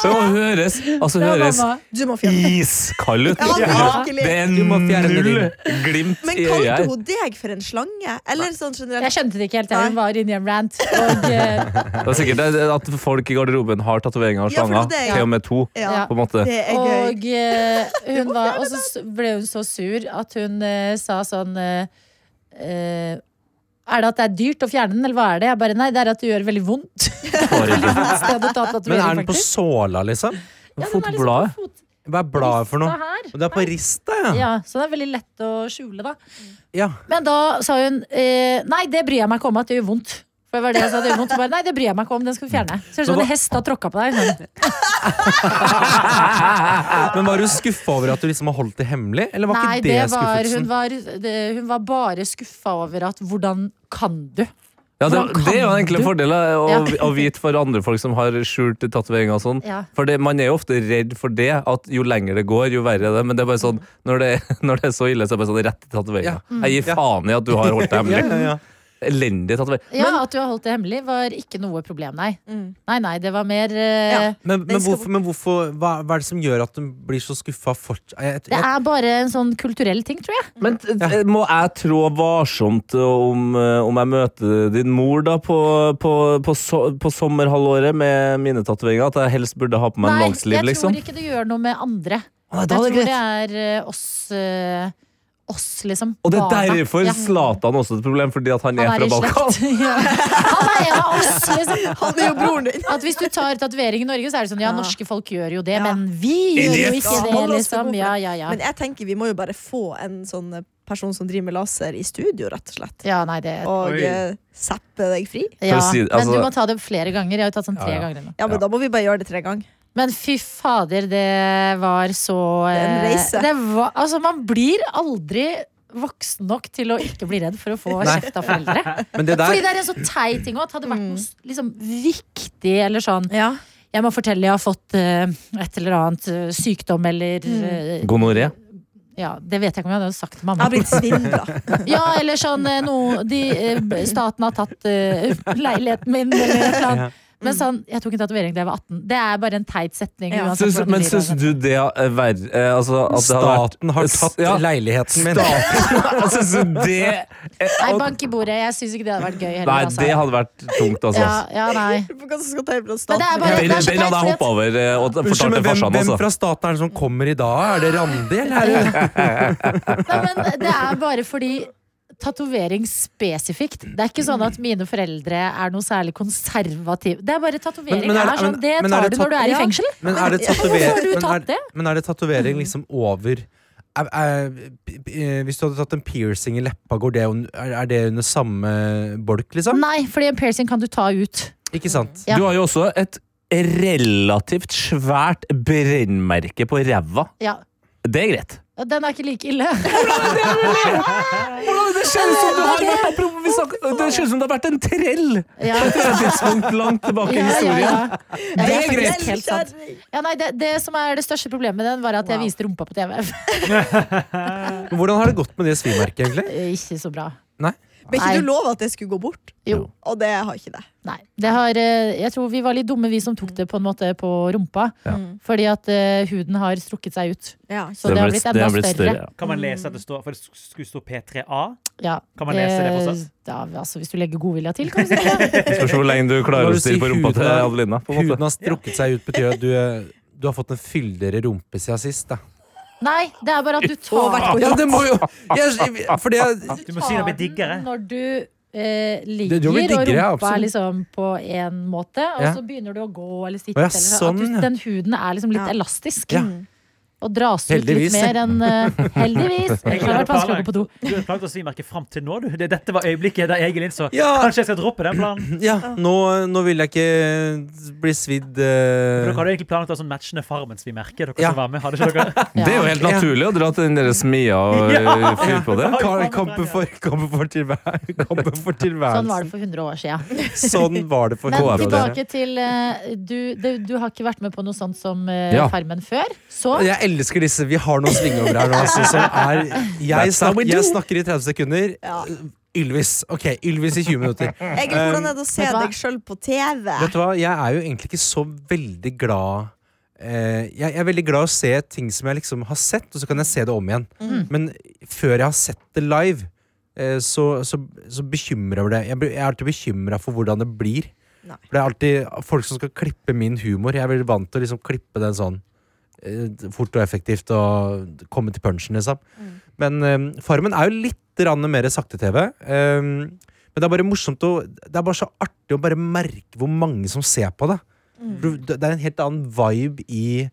F: Så høres Altså,
B: Ja,
F: høres
B: mamma.
D: Du må fjerne
F: iskald ut.
D: Ja, virkelig.
F: Det er
C: Du må fjerne
F: null glimt
D: Men
F: i øyet
D: kalte
F: her.
D: hun deg for en slange? Eller sånn generelt?
B: Jeg skjønte det ikke helt. jeg. Hun var inne i en rant. Og eh,
F: Det er sikkert det er at folk i garderoben har tatoveringer av
D: Ja, for
F: slanger.
D: det er det, ja.
F: Til og med to,
D: Ja.
F: på en måte.
D: Det er gøy.
B: Og, eh, hun var, og så s- ble hun så sur at hun eh, sa sånn eh, eh, Er det at det er dyrt å fjerne den, eller hva er det? Jeg bare nei, det er at det gjør veldig vondt. Vondt sted å ta
C: Men er
B: tatovering,
C: den på
B: faktisk.
C: såla, liksom?
B: Ja, den er liksom på
F: Fotbladet.
B: fot-
C: Hva er bladet for noe?
B: her.
C: Og det er på rista, ja.
B: Ja, så det er veldig lett å skjule, da.
C: ja.
B: Men da sa hun eh, Nei, det bryr jeg meg ikke om at det gjør vondt. For det var det jeg sa, det gjør vondt. Hun Bare, nei, det bryr jeg meg ikke om, den skal vi fjerne. Ser ut som en hest har tråkka på deg. Sånn.
C: Men var du skuffa over at du liksom har holdt det hemmelig? Eller var
B: Nei,
C: ikke det,
B: det var, hun,
C: skuffelsen?
B: var, det, hun var bare skuffa over at hvordan kan du?
F: Ja, det,
B: Hvordan kan
F: det er jo egentlig
B: du?
F: en fordel da, å,
B: Ja.
F: å vite for andre folk som har skjult tatoveringer og sånn.
B: Ja.
F: For det, man er jo ofte redd for det, at jo lenger det går, jo verre er det. Men det er bare sånn, når det, når det er så ille, så er det bare sånn rett til tatoveringa.
B: Mm.
F: Jeg gir
C: Ja.
F: faen i at du har holdt deg
C: Ja,
F: hemmelig.
C: ja, ja.
F: Elendig tatovering.
B: Ja, At du har holdt det hemmelig, var ikke noe problem, nei. Nei, nei, det var mer eh,
D: Ja.
C: Men, men
D: Den skal
C: hvorfor, men hvorfor hva, hva er det som gjør at hun blir så skuffa fortsatt? Jeg,
B: Det
C: jeg,
B: er bare en sånn kulturell ting, tror jeg.
F: Men t- t- må jeg trå varsomt om, eh, om jeg møter din mor da på, på, på, so på sommerhalvåret med mine tatoveringer? At jeg helst burde ha på meg en
B: nei,
F: longsleeve,
B: jeg
F: liksom?
B: tror ikke det gjør noe med andre.
F: Å,
B: Jeg
F: nei, da er det
B: tror
F: greit.
B: det er eh, oss, eh, oss liksom.
F: Og det er
B: barna.
F: derfor
B: Ja.
F: Zlatan også er et problem, fordi at han,
B: Han
F: er
B: er i
F: fra Balkan.
B: slekt. Ja. Han er en av oss, liksom.
D: Han er jo broren din!
B: At hvis du tar tatovering i Norge, så er det sånn ja,
D: Ja.
B: norske folk gjør jo det,
D: Ja.
B: men vi gjør jo ikke det,
F: altså,
D: Hold oss til
B: liksom.
D: bordet.
B: Ja, ja, ja.
D: Men jeg tenker vi må jo bare få en sånn eh, person som driver med laser i studio, rett og slett.
B: Ja, nei, det
D: Og
E: Oi.
D: eh, zappe deg fri.
B: ja.
F: si det,
B: Men du
F: altså-
B: må ta det flere ganger. Jeg har jo tatt sånn tre
C: Ja, ja.
B: ganger nå.
D: Ja, men
F: Ja.
D: da må vi bare gjøre det tre ganger.
B: Men fy fader, det var så
D: er en
B: eh,
D: reise.
B: Det var, altså, man blir aldri voksen nok til å ikke bli redd for å få
C: Nei.
B: kjeft av foreldre.
C: Men det
B: Fordi
C: der
B: det er en så teit ting òg. Hadde det vært noe s- liksom, viktig eller sånn
D: Ja.
B: Jeg må fortelle jeg har fått eh, et eller annet eh, sykdom eller
C: Mm.
B: eh,
F: Gonoré.
B: Ja, det vet jeg ikke om jeg hadde sagt til
D: Jeg
B: mamma.
D: har blitt svindla.
B: Ja, eller sånn eh, noe de, eh, b- Staten har tatt eh, leiligheten min, eller et eller annet. Men sånn, jeg tok en tatovering da jeg var 18. Det er bare en teit setning.
D: Ja.
B: uansett
F: Syns,
B: hvordan
F: men
B: blir av
F: syns
B: det.
F: du det er verre eh, altså, at det hadde vært-
C: Staten har tatt
F: Ja.
C: leiligheten min.
F: Staten Syns du det eh,
B: Nei,
F: at-
B: bank i bordet. Jeg syns ikke det hadde vært gøy heller.
F: Nei,
B: altså.
F: det hadde vært tungt, altså.
B: ja, ja, nei.
D: Hva som skal ta fra
B: Men det er
D: staten?
B: bare
F: Den,
B: det er så
F: den hadde jeg
B: teit,
F: hoppa
B: for
F: over eh, og
C: Unnskyld,
F: fortalt
C: men
F: til
C: hvem,
F: farsan,
C: hvem
F: altså.
C: fra staten er det som kommer i dag? Er det Randi, eller er det
B: at- Nei, men det er bare fordi Tatovering spesifikt. Det er ikke sånn at mine foreldre er noe særlig konservative. Det er bare tatovering.
C: Men- men er det-
B: er sånn,
C: men-
B: det
C: men er
B: tar
C: det
B: du når du er
C: tat-
B: i
D: Ja.
B: fengsel.
C: Men er det
B: Hvorfor har
C: tatovering
B: du
C: men,
B: tatt
C: er-
B: det?
C: men er det tatovering
B: Mhm.
C: liksom over er, er, eh, Hvis du hadde tatt en piercing i leppa, går det, un- er er det under samme bolk, liksom?
B: Nei, fordi en piercing kan du ta ut.
C: Ikke sant?
B: Ja.
F: Du har jo også et relativt svært brennmerke på ræva.
B: Ja.
F: Det er greit.
B: Og Den er ikke like ille.
F: Det
B: sånn
F: kjennes som du har vært apropos, vi snakket- det kjennes som det har vært en trell!
B: Ja.
F: Det er et tidspunkt langt tilbake i
B: Ja, ja,
F: historien.
B: ja. Ja, det er
D: greit.
B: faktisk helt sant. Ja, nei, det, det som er det største problemet med den, var at jeg
D: Wow.
B: viste rumpa på TV.
C: Men Hvordan har det gått med det svimerket, egentlig?
B: Ikke så bra.
D: Men
B: Nei.
D: ikke du lova at det skulle gå bort?
B: Jo.
D: Og det har ikke det.
B: Nei. Det har, eh, jeg tror vi var litt dumme, vi som tok det på en måte på rumpa. Fordi at eh, huden har strukket seg ut.
D: Ja.
B: Så det, har blitt enda større.
F: ja.
E: Kan man lese at det står For det skulle stå P3A.
B: Ja.
E: Kan man lese det
B: Eh,
E: fortsatt?
B: Da, altså, hvis du legger godvilja til, kan du si det.
F: Spørs hvor lenge du klarer
C: Når
F: å
C: du
F: stirre
C: sier
F: på rumpa til
C: huden-
F: Adelina. På en
C: Huden
F: måte.
C: har strukket seg ut, betyr at du, eh, du har fått en fyldigere rumpe siden sist, da.
B: Nei, det er bare at du
D: Og vært
B: tar,
D: på
C: Ja, det må jo jeg, For det
E: Du må si det blir
B: tar
E: diggere.
B: den når du eh, ligger,
C: Det- det blir diggere, ja,
B: og rumpa er
C: absolutt.
B: liksom på én måte, og
C: Ja.
B: så begynner du å gå eller sitte.
C: Å, ja,
B: eller sånn,
C: sånn,
B: at du,
C: ja.
B: den huden er liksom litt
D: Ja.
B: elastisk.
C: Ja.
B: Og dras ut
C: Heldigvis,
B: litt mer enn eh, Heldigvis! Det har vært vanskelig å gå på do.
E: Du har planlagt å svimerke fram til nå, du. Det- Dette var øyeblikket der Egil innså
C: Ja.
E: Kanskje jeg skal droppe den planen.
C: Ja, nå, nå vil jeg ikke bli svidd eh,
E: For Dere hadde egentlig planlagt å ha sånn matchende Farmen-svimerke. Dere
C: Ja.
E: som var med, hadde ikke dere?
B: Ja.
F: Det er jo helt naturlig å dra til den der smia og eh, fyre på det.
C: Ka- Kampen for, kampen for, tilvær kampen for
B: Sånn var det
C: tilværelsen.
B: for 100 år siden.
C: Sånn var det for
B: Men
C: KrF, dere.
B: tilbake til eh, du, det, du har ikke vært med på noe sånt som eh,
F: Ja.
B: Farmen før. Så
C: Jeg elsker disse. Vi har noen svingover her nå. Altså, som er, jeg,
F: That's how
C: snak,
F: we do.
C: jeg snakker i 30 sekunder.
D: Ja.
C: Ylvis. Ok, Ylvis i 20 minutter.
D: Egil, hvordan er det å se
B: vet du hva?
D: deg sjøl på TV?
C: Vet du hva, jeg er jo egentlig ikke så veldig glad eh, jeg, jeg er veldig glad i å se ting som jeg liksom har sett, og så kan jeg se det om igjen. Men før jeg har sett det live, eh, så, så, så bekymrer det Jeg, blir- jeg er alltid bekymra for hvordan det blir.
D: Nei.
C: For det er alltid folk som skal klippe min humor. Jeg er veldig vant til å liksom klippe den sånn eh, fort og effektivt og komme til punchen, liksom. Men eh, Farmen er jo litt rann mer sakte-TV. eh, men det er bare morsomt å, Det er bare så artig å bare merke hvor mange som ser på det. For du- Det er en helt annen vibe i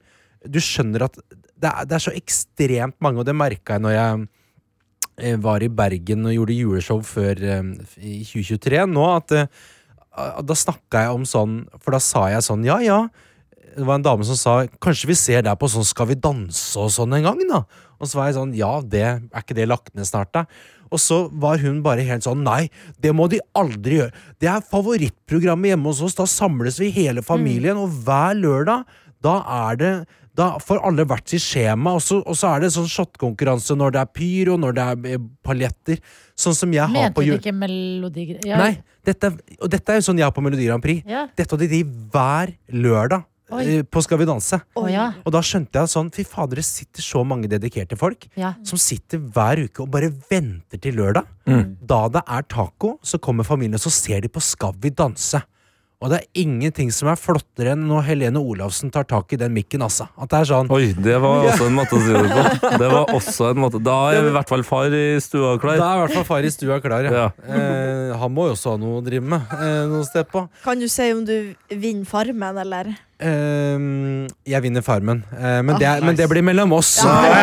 C: Du skjønner at det er, det er så ekstremt mange, og det merka jeg når jeg eh, var i Bergen og gjorde juleshow før eh, i 2023 nå, at eh, ah, da snakka jeg om sånn For da sa jeg sånn Ja, ja. Det var en dame som sa Kanskje vi ser deg på sånn Skal vi danse og sånn en gang, da? Og så var jeg sånn Ja, det er ikke det lagt ned snart, da? Og så var hun bare helt sånn Nei, det må de aldri gjøre. Det er favorittprogrammet hjemme hos oss. Da samles vi hele
B: Mm.
C: familien, og hver lørdag da er det da får alle hvert sitt skjema, og så, og så er det sånn shotkonkurranse når det er pyr, og når det er eh, paljetter. Sånn som jeg har
B: mente
C: på
B: du
C: jul.
B: ikke melodi... Ja.
C: Nei, dette, er- og dette er jo sånn jeg har på Melodi Grand Prix.
B: Ja.
C: Dette hadde de hver lørdag
B: Oi.
C: eh, på Skal vi danse.
B: Å, ja.
C: Og da skjønte jeg sånn, fy fader, det sitter så mange dedikerte folk
B: Ja.
C: som sitter hver uke og bare venter til lørdag.
F: Mm.
C: Da det er taco, så kommer familien, og så ser de på Skal vi danse. Og det er ingenting som er flottere enn når Helene Olavsen tar tak i den mikken, altså. At det er sånn
F: Oi, det var også en måte å si det på. Det var også en måte. Da er i hvert fall far i stua
C: Da
F: klar.
C: er i hvert fall far i stua klar, ja.
F: Ja.
C: Eh, han må jo også ha noe å drive med eh, noe sted på.
D: Kan du si om du vinner Farmen, eller?
C: Ehm, jeg vinner Farmen, Eh, men, det, er- men
E: nice.
C: det blir mellom oss.
D: Vi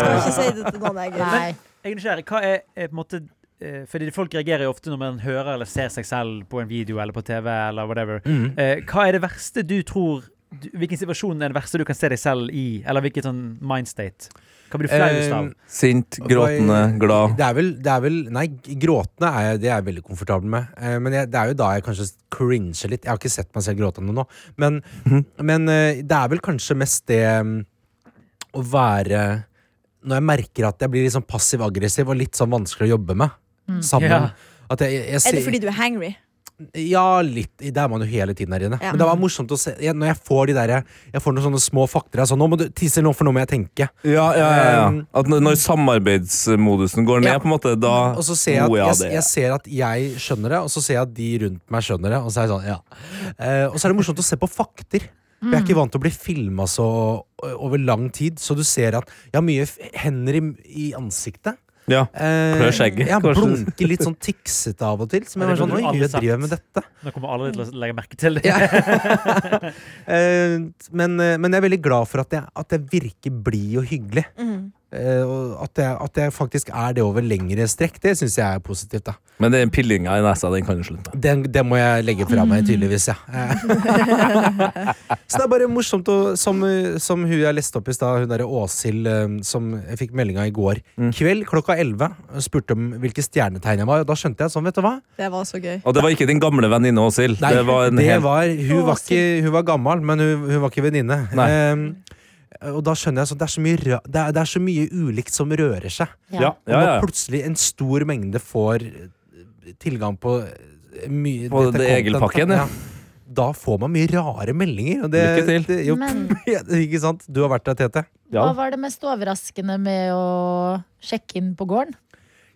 D: skal ikke si si det til noen, Egil.
B: Nei.
E: Jeg er nysgjerrig. Hva er, er på en måte eh, fordi Folk reagerer jo ofte når man hører eller ser seg selv på en video eller på TV. eller whatever. Eh, Hva er det verste du tror du- Hvilken situasjon er det verste du kan se deg selv i? Eller hvilket sånn mindstate? Hva blir du flauest av?
C: Eh,
F: Sint, gråtende, glad.
C: Det er vel, det er vel Nei, gråtende er jeg, det er jeg veldig komfortabel med. Eh, men jeg, det er jo da jeg kanskje cringer litt. Jeg har ikke sett meg selv gråtende nå. Men, men eh, det er vel kanskje mest det mm, å være Når jeg merker at jeg blir litt sånn passiv-aggressiv og litt sånn vanskelig å jobbe med. Sammen.
E: Ja.
C: At jeg, jeg, jeg,
D: Er det
C: ser-
D: fordi du er hangry?
C: ja, litt. Det er man jo hele tiden her inne.
D: Ja.
C: Men det var morsomt å se jeg, Når jeg får de der, jeg får noen sånne små fakter. Jeg er sånn, nå må du tisse nå, for nå må jeg tenke.
F: Ja, ja, ja, ja.
C: Um,
F: At når- når samarbeidsmodusen går ned,
C: Ja.
F: på en måte, da
C: Og så ser jeg
F: Oh,
C: at
F: ja,
C: jeg,
F: det-
C: jeg ser at jeg skjønner det, og så ser jeg at de rundt meg skjønner det. Og så er, jeg sånn, ja. Eh, og så er det morsomt å se på fakter. For jeg er ikke vant til å bli filma så eh, over lang tid, så du ser at jeg har mye f- hender i, i ansiktet.
F: ja.
C: Eh,
F: Klør skjegget,
C: Jeg
F: kanskje.
C: blunker litt sånn tiksete av og til. Som
E: Ja,
C: jeg
E: det
C: er sånn,
E: burde du
C: oi,
E: aldri
C: jeg driver
E: sagt.
C: med dette.
E: Nå kommer alle til å legge merke til det.
C: Ja. Eh, men, eh, men jeg er veldig glad for at jeg, at jeg virker blid og hyggelig. Eh, og at jeg, at jeg faktisk er det over lengre strekk, det syns jeg er positivt. da
F: Men den pillinga i nesa, den kan du slutte med.
C: Den, det må jeg legge fra meg, tydeligvis. Ja. Eh. Så det er bare morsomt, å, som, eh, som hun jeg leste opp i stad, hun derre Åshild, eh, som jeg fikk melding av i går kveld klokka 11, og spurte om hvilke stjernetegn jeg var. Og da skjønte jeg sånn, vet du hva?
D: Det var så gøy.
F: Og det var ikke din gamle venninne Åshild.
C: Nei,
F: Det var en
C: det
F: helt
C: var, hun, var ikke,
D: Åshild.
C: hun var gammel, men hun, hun var ikke venninne.
F: Nei.
C: Eh, og da skjønner jeg sånn, det er så mye, rø det er, det er så mye ulikt som rører seg.
B: Ja.
F: Ja,
C: Og
F: ja, ja.
C: Når plutselig en stor mengde får eh, tilgang på eh, mye
F: På
C: dette
F: det
C: contentet,
F: Egil-pakken, ja.
C: Da får man mye rare meldinger. Og det,
F: Lykke til.
C: Det, jo,
B: Men
C: ikke sant? Du har vært der, Tete.
B: hva
F: Ja.
B: var det mest overraskende med å sjekke inn på gården?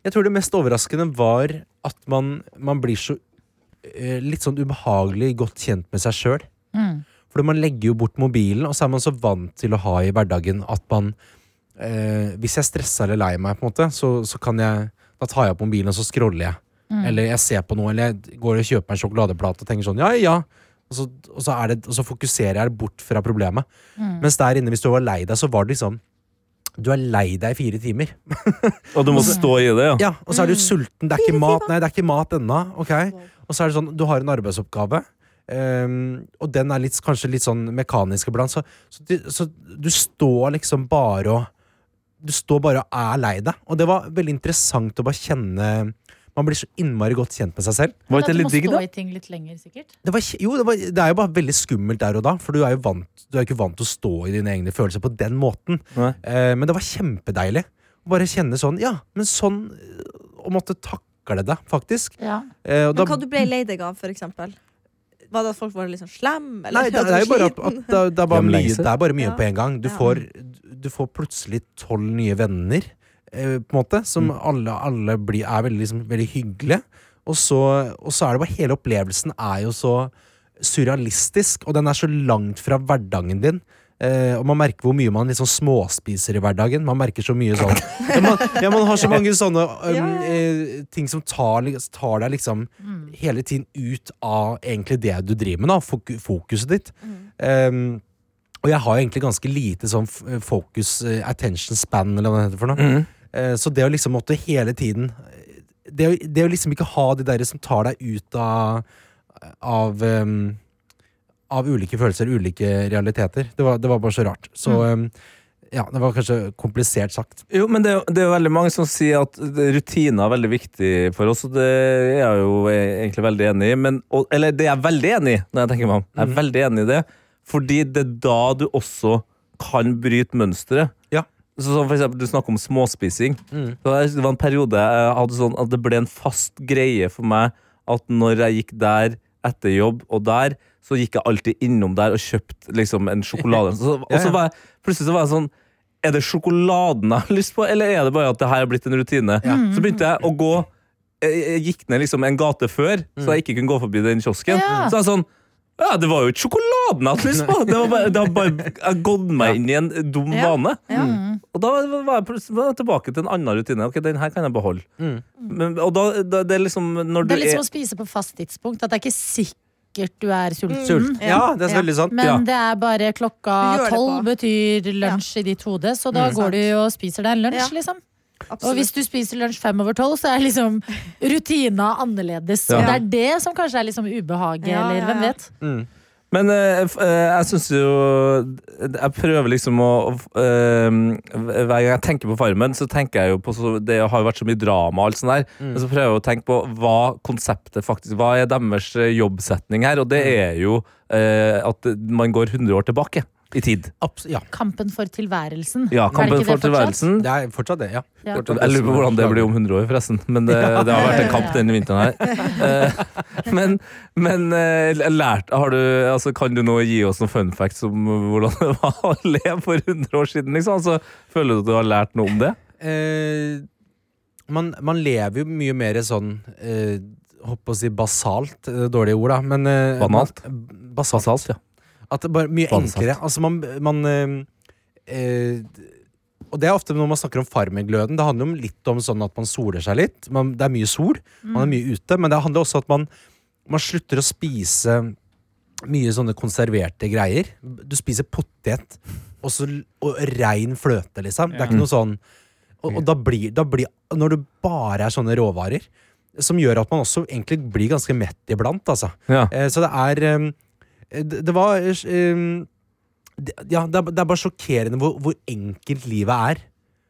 C: Jeg tror det mest overraskende var at man, man blir så eh, litt sånn ubehagelig godt kjent med seg sjøl.
B: Mm.
C: For man legger jo bort mobilen, og så er man så vant til å ha i hverdagen at man eh, Hvis jeg er stressa eller lei meg, på en måte, så, så kan jeg Da tar jeg opp mobilen, og så scroller jeg. Eller jeg ser på noe, eller jeg går og kjøper meg en sjokoladeplate og tenker sånn ja, ja. Og så, og så, er det, og så fokuserer jeg bort fra problemet. Mens der inne, hvis du var lei deg, så var det liksom Du er lei deg i fire timer.
F: Og du må stå i det, ja.
C: Ja, og så er du sulten. Det er ikke mat Nei, det er ikke mat ennå. ok? Og så er det sånn, du har en arbeidsoppgave, ehm, og den er litt, kanskje litt sånn mekanisk iblant. Så, så, du- så du står liksom bare og Du står bare og er lei deg. Og det var veldig interessant å bare kjenne Man blir så innmari godt kjent med seg selv.
F: Var ikke det litt digg,
B: Du må
F: da?
B: stå i ting litt lenger, sikkert.
C: Det, var, kje- jo, det, var, det er jo bare veldig skummelt der og da, for du er jo vant, du er ikke vant til å stå i dine egne følelser på den måten.
F: Nei.
C: Eh, men det var kjempedeilig å bare kjenne sånn, ja, men sånn eh, Å måtte takle det, faktisk.
B: Ja.
C: Eh, og da,
D: Men hva du ble lei deg av, for eksempel? Var det at folk var litt sånn slem?
C: nei,
D: Eller
C: det, det er jo bare at, at det, det, er bare
F: Hjemlengsel.
C: mye, det er bare mye
D: Ja.
C: på en gang. Du
D: Ja.
C: får, du får plutselig tolv nye venner, eh, på en måte, som alle, alle blir, er veldig, liksom, veldig hyggelige. Og så, og så er det bare hele opplevelsen er jo så surrealistisk, og den er så langt fra hverdagen din. Eh, og man merker hvor mye man liksom småspiser i hverdagen. Man merker så mye sånn ja, man, ja, man har så mange sånne um,
D: Ja, ja, Mm. ja.
C: eh, ting som tar, li- tar deg liksom hele tiden ut av egentlig det du driver med, da, fok fokuset ditt.
D: Mm.
C: Um, og jeg har jo egentlig ganske lite sånn f- fokus, eh, attention span, eller hva det heter for noe. Eh, så det å liksom måtte hele tiden Det å, det å liksom ikke ha de der som tar deg ut av Av, um, av ulike følelser, ulike realiteter. Det var, det var bare så rart. Så um, ja, det var kanskje komplisert sagt.
F: Jo, men det, er jo- det er jo veldig mange som sier at det- rutiner er veldig viktig for oss, og det er jeg jo e- egentlig veldig enig i. Men, og, eller det er jeg veldig enig i, når jeg tenker meg om. Jeg er veldig enig i det, fordi det er da du også kan bryte mønsteret.
C: Ja.
F: Så, som for eksempel, du snakker om småspising.
C: Mm.
F: Så jeg husker Det var en periode jeg hadde sånn at det ble en fast greie for meg at når jeg gikk der etter jobb og der, så gikk jeg alltid innom der og kjøpte liksom en sjokolade. Så, og
C: Ja, ja.
F: så var jeg, plutselig så var jeg sånn er det sjokoladen jeg har lyst på, eller er det bare at det her er blitt en rutine?
C: Mm.
F: Så begynte jeg å gå Jeg jeg gikk ned liksom en gate før,
C: Mm.
F: så jeg ikke kunne gå forbi den kiosken.
B: Ja.
F: Så jeg sånn Ja, det var jo ikke sjokoladen jeg hadde lyst på! Det var bare, det har bare jeg har gått meg inn i en dum
D: Ja.
F: vane.
D: Ja.
C: Mm.
F: Og da var jeg plutselig var jeg tilbake til en annen rutine. Ok, den her kan jeg beholde.
C: Mm.
F: Men, og da, da, det er liksom når du
B: Det er litt
F: er
B: som å spise på fast tidspunkt. At det er ikke sikkert sikkert du er sulten.
C: Sult. Ja, det er
D: Ja.
C: veldig sant.
B: Men
C: ja.
B: det er bare klokka
D: Du gjør det
B: tolv
D: på.
B: betyr lunsj i ditt hode, så da
D: Mm.
B: går du og spiser deg en lunsj,
D: Ja.
B: liksom.
D: Absolutt.
B: Og hvis du spiser lunsj fem over tolv, så er liksom rutina annerledes. Og det
F: Ja.
B: er det som kanskje er liksom ubehaget,
D: Ja,
B: eller
D: ja,
B: hvem
D: ja.
B: vet.
F: Men eh, f- eh, jeg syns jo Jeg prøver liksom å å, eh, Hver gang jeg tenker på Farmen, så tenker jeg jo på så, Det har jo vært så mye drama og alt sånt der. Men så prøver jeg å tenke på hva konseptet faktisk Hva er deres eh, jobbsetning her? Og det er jo eh, at man går 100 år tilbake i tid.
C: Abs ja.
B: Kampen for tilværelsen. Er
F: Ja,
B: det
F: kampen
B: ikke det
F: for
B: fortsatt?
F: tilværelsen.
C: Det er fortsatt det, ja.
B: Ja.
C: Fortsatt
F: Jeg lurer på
C: som er
F: hvordan det blir om
C: slaget.
F: 100 år, forresten. Men det, det har vært en kamp denne vinteren her. Eh, Men, men eh, lært, har du, altså, kan du nå gi oss noen fun facts om hvordan det var å leve for 100 år siden? Liksom? Altså, føler du at du har lært noe om det?
C: Eh, man, man lever jo mye mer sånn eh, Håper på å si basalt. eh, Dårlige ord, da. Men, eh,
F: Banalt?
C: man- Basalt. At det bare mye
F: Vansatt.
C: enklere. Altså, man, man eh, eh, Og det er ofte når man snakker om farmengløden. Det handler jo litt om sånn at man soler seg litt. Man, det er mye sol, man er mye ute. Men det handler også om at man, man slutter å spise mye sånne konserverte greier. Du spiser potet og, så, og rein fløte, liksom. Det er ikke noe sånn Og, og da, blir, da blir Når det bare er sånne råvarer, som gjør at man også egentlig blir ganske mett iblant, altså.
F: Ja.
C: Eh, Så det er eh, Det, det var eh, det, Ja, det er, det er bare sjokkerende hvor, hvor enkelt livet er.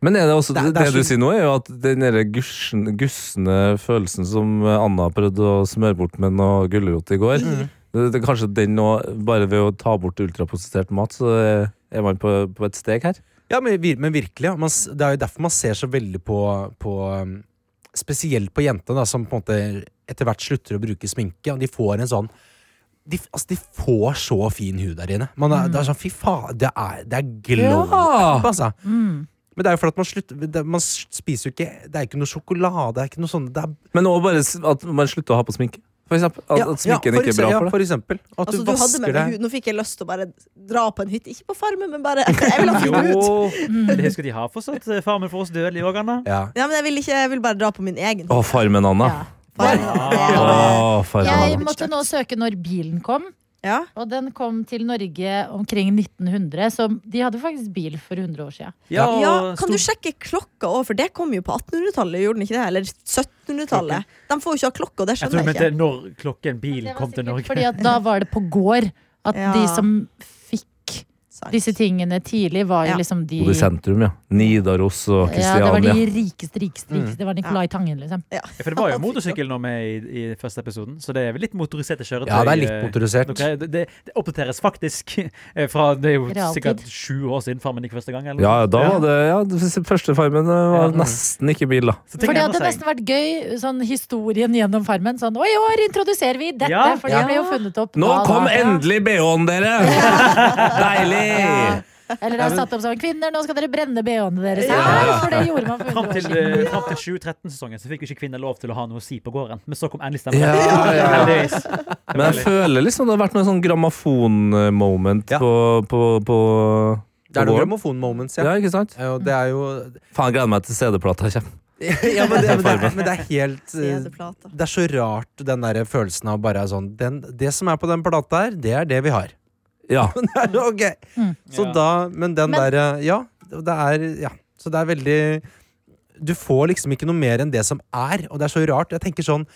F: Men er det, også, det,
C: Det er- det er
F: du
C: så-
F: sier nå, er jo at den derre gusjen- gussende følelsen som Anna prøvde å smøre bort med noe gulrot i går
C: Mm.
F: det, det, Kanskje den nå, bare ved å ta bort ultraprosessert mat, så er man på, på et steg her?
C: Ja, men, vir- men virkelig. ja. Man, s- det er jo derfor man ser så veldig på, på um, Spesielt på jentene, da, som på en måte etter hvert slutter å bruke sminke. Og de får en sånn De, f- altså, de får så fin hud der inne. Man er, Det er sånn, fy faen, det er, det er glow up, altså. Men det er jo fordi at man slutter det, Man s- spiser jo ikke Det er ikke noe sjokolade, det er ikke noe sånt det er,
F: Men også bare s- at man slutter å ha på sminke. For eksempel, at, at sminken
C: for
F: ikke er bra for
C: eksempel, ja,
F: deg.
C: for eksempel. At
D: Altså, du hadde
C: du
D: med
C: vasker
D: meg
C: deg.
D: hud. Nå fikk jeg lyst til å bare dra på en hytte. Ikke på farmen, men bare Jeg vil ha fin hud.
F: Mm.
E: Det husker de har fortsatt. eh, Farmen for oss dødelige òg, Anna.
C: Ja.
D: Ja, men jeg vil, ikke, jeg vil bare dra på min egen.
F: Å, Farmen, Anna.
B: Ja.
D: Farm. Ja.
F: Å, farmen,
B: Jeg
F: Anna.
B: måtte nå søke når bilen kom,
D: Ja.
B: og den kom til Norge omkring 1900. Så de hadde faktisk bil for 100 år siden.
E: og
D: ja, kan
E: stor-
D: du sjekke klokka òg, for det kom jo på 1800-tallet, gjorde den ikke det? Eller 1700-tallet. De får jo ikke ha klokka, det
E: Jeg tror du
D: skjønner jeg
E: mente
D: ikke.
E: når klokken
B: Det
E: bil
B: var
E: kom til
B: sikkert
E: Norge.
B: Fordi at da var det på gård at
D: Ja.
B: de som fikk
D: Sant.
B: disse tingene tidlig, var jo
D: Ja.
B: liksom de
F: Bodde i sentrum, ja. Nidaros og
B: ja, det var de
F: Kristiania.
B: rikeste, rikeste, rikeste. Det var Nicolai Tangen, liksom.
E: Ja, For det var jo motorsykkel nå med i, i første episoden, så det er vel litt motoriserte kjøretøy.
C: ja, det er litt
E: eh,
C: motorisert.
E: dere- det, det, det oppdateres faktisk eh, fra Det er jo
B: Realtid.
E: sikkert sju år siden Farmen gikk første gang. Eller?
F: Ja,
E: noe sånt.
F: da var det ja, det Første Farmen eh,
E: Ja.
F: var nesten ikke bil, da.
E: Så ting
B: For det
E: endrer
B: hadde
E: seg.
B: nesten vært gøy, sånn historien gjennom Farmen. Sånn, og i år introduserer vi dette,
E: Ja.
B: for det
E: Ja.
B: ble jo funnet opp
F: Nå
B: da, da,
F: kom
B: da.
F: endelig BH-en, dere! Deilig!
B: Eller det er satt opp som kvinner, nå skal dere brenne BH-ene deres.
D: Ja.
B: Nei, for det gjorde man for 100
E: Fram
B: år
E: til,
B: siden.
E: eh, fram til 2013-sesongen så fikk jo ikke kvinner lov til å ha noe å si på gården. Men så kom endelig stemmen.
F: Ja, ja.
E: Heldigvis.
F: Men jeg føler liksom det har vært noe sånn grammofon-moment
C: Ja.
F: på, på, på
C: Det
F: på
C: er noen
F: gården.
C: grammofon-moments, ja.
F: Ja, ikke sant?
C: ja. Og det er jo
F: Faen, gleder meg til CD-plata kommer.
C: ja, men, det, men, det, er- men det er helt eh,
D: CD-plata.
C: Det er så rart den der følelsen av bare sånn den, Det som er på den plata her, det er det vi har.
F: Ja.
C: Men det er ok Så
E: Ja.
C: da, Men
B: Mm.
C: den
B: Men-
C: derre Ja, det er Ja. Så det er veldig Du får liksom ikke noe mer enn det som er, og det er så rart. Jeg tenker sånn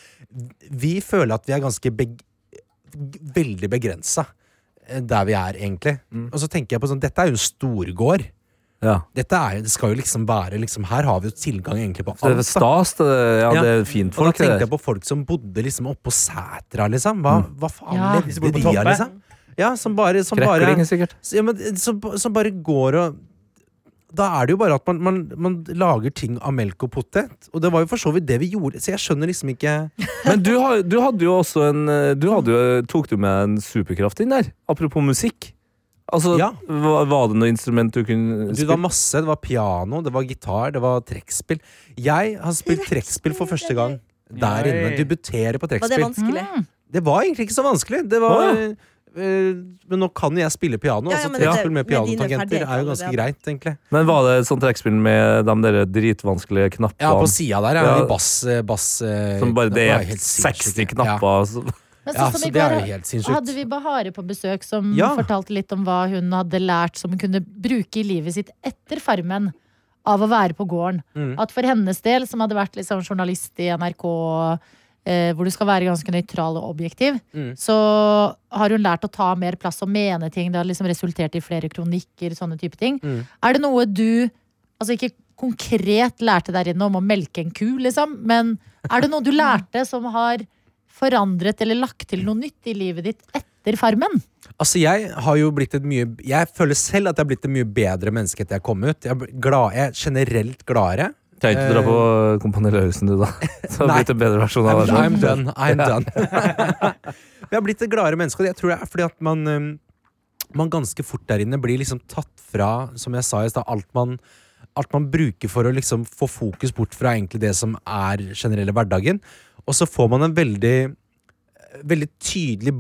C: Vi føler at vi er ganske beg, Veldig begrensa eh, der vi er, egentlig.
E: Mm.
C: Og så tenker jeg på sånn Dette er jo en storgård.
F: ja.
C: Dette er, jo- det skal jo liksom være liksom, Her har vi jo tilgang egentlig på
F: Det er
C: alt. da.
F: stas. Det, ja,
C: Ja.
F: det er fint
C: Og da
F: folk. det
C: tenkte
F: der.
C: jeg på folk som bodde liksom oppå Sætra, liksom. Hva, hva faen
B: Ja.
E: Mm. De som
C: levde
E: bodde
C: de
E: på
C: av,
E: toppen. liksom?
C: liksom? Ja, som bare, som bare,
F: Krekling, sikkert.
C: så- ja, men, eh, som, som bare går og Da er det jo bare at man, man, man lager ting av melk og potet. Og det var jo for så vidt det vi gjorde, så jeg skjønner liksom ikke
F: Men du, har- du hadde jo også en eh, Du hadde jo, tok du med en superkraft inn der? Apropos musikk. Altså,
C: Ja.
F: hva- var det noe instrument du kunne
C: du, Det var
F: spille?
C: masse. Det var piano, det var gitar, det var trekkspill. Jeg har spilt trekkspill for første gang der
E: Oi.
C: inne. Debuterer på
D: Var det
C: trekkspill. Mm.
D: vanskelig?
C: Det var egentlig ikke så vanskelig. Det var,
F: Å,
C: eh, men nå kan jo jeg spille piano.
D: Ja, ja,
C: altså,
D: men det-
C: trekkspill med
D: med dine
C: pianotangenter er jo ganske
D: ferdigheter
C: greit, egentlig.
F: Men var det et sånt trekkspill med de der dritvanskelige knappene?
C: Ja, på sida der er
F: Ja.
C: det bass, bass
F: som bare det
C: var
F: er 60
C: helt sinnssykt.
F: knapper? altså. så-
D: Altså,
B: Men
C: Ja,
B: sånn som
C: så
B: i
C: det er
B: går,
C: jo helt sinnssykt.
B: Hadde vi Bahare på besøk, som
C: Ja.
B: fortalte litt om hva hun hadde lært som hun kunne bruke i livet sitt etter Farmen. Av å være på gården.
C: Mm.
B: At for hennes del, som hadde vært liksom journalist i NRK, eh, hvor du skal være ganske nøytral og objektiv,
C: Mm.
B: så har hun lært å ta mer plass og mene ting. Det har liksom resultert i flere kronikker, sånne type ting.
C: Mm.
B: Er det noe du Altså ikke konkret lærte der inne om å melke en ku, liksom, men er det noe du lærte som har forandret eller lagt til noe nytt i livet ditt etter Farmen?
C: Altså Jeg har jo blitt et mye Jeg føler selv at jeg har blitt et mye bedre menneske etter jeg kom ut. Jeg er, bl- glad, jeg er generelt gladere.
F: Trenger ikke dra på Kompani Lauritzen, du, da. Så det har
C: Nei.
F: blitt en bedre versjon av
C: I'm,
F: deg
C: I'm
F: selv.
C: done. I'm done. Men jeg har blitt et gladere menneske, og jeg tror det er fordi at man um, Man ganske fort der inne blir liksom tatt fra, som jeg sa i stad, alt man Alt man bruker for å liksom få fokus bort fra egentlig det som er generelle hverdagen. Og så får man en veldig Veldig tydelig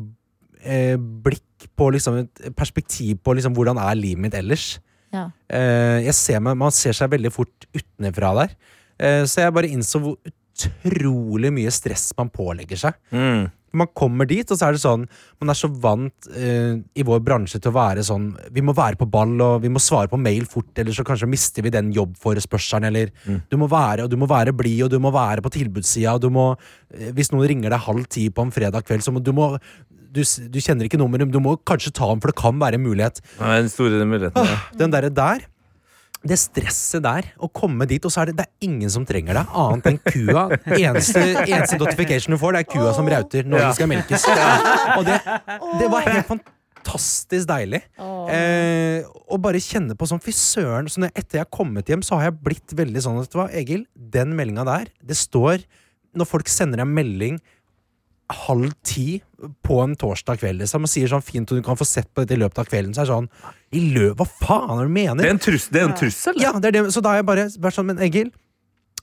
C: eh, blikk på liksom et perspektiv på liksom hvordan er livet mitt ellers.
B: Ja.
C: Eh, jeg ser meg, man ser seg veldig fort utenfra der. Eh, så jeg bare innså hvor utrolig mye stress man pålegger seg.
F: Mm.
C: Man kommer dit, og så er det sånn Man er så vant eh, i vår bransje til å være sånn Vi må være på ball, og vi må svare på mail fort, eller så kanskje mister vi den jobbforespørselen, eller Du må være, og du må være blid, og du må være på tilbudssida, og du må eh, Hvis noen ringer deg halv ti på en fredag kveld, så må du må, du, s- du kjenner ikke nummeret, men du må kanskje ta den, for det kan være en mulighet.
F: Det er den store muligheten. ja.
C: Ah, Den derre der det stresset der, å komme dit, og så er det, det er ingen som trenger deg, annet enn kua. Eneste, eneste notification du får, det er kua som rauter når den skal melkes. Og det, det var helt fantastisk deilig. Eh, og bare kjenne på sånn Fy søren. Så når, etter jeg har kommet hjem, så har jeg blitt veldig sånn at, Vet du hva, Egil, den meldinga der, det står Når folk sender deg melding halv ti på en torsdag kveld liksom, og sier sånn fint og du kan få sett på dette i løpet av kvelden, så er det sånn I løpet Hva faen er det du mener?
F: Det er en trus- det er en trussel.
C: Ja, det er det. Så da har jeg bare vært sånn, men Egil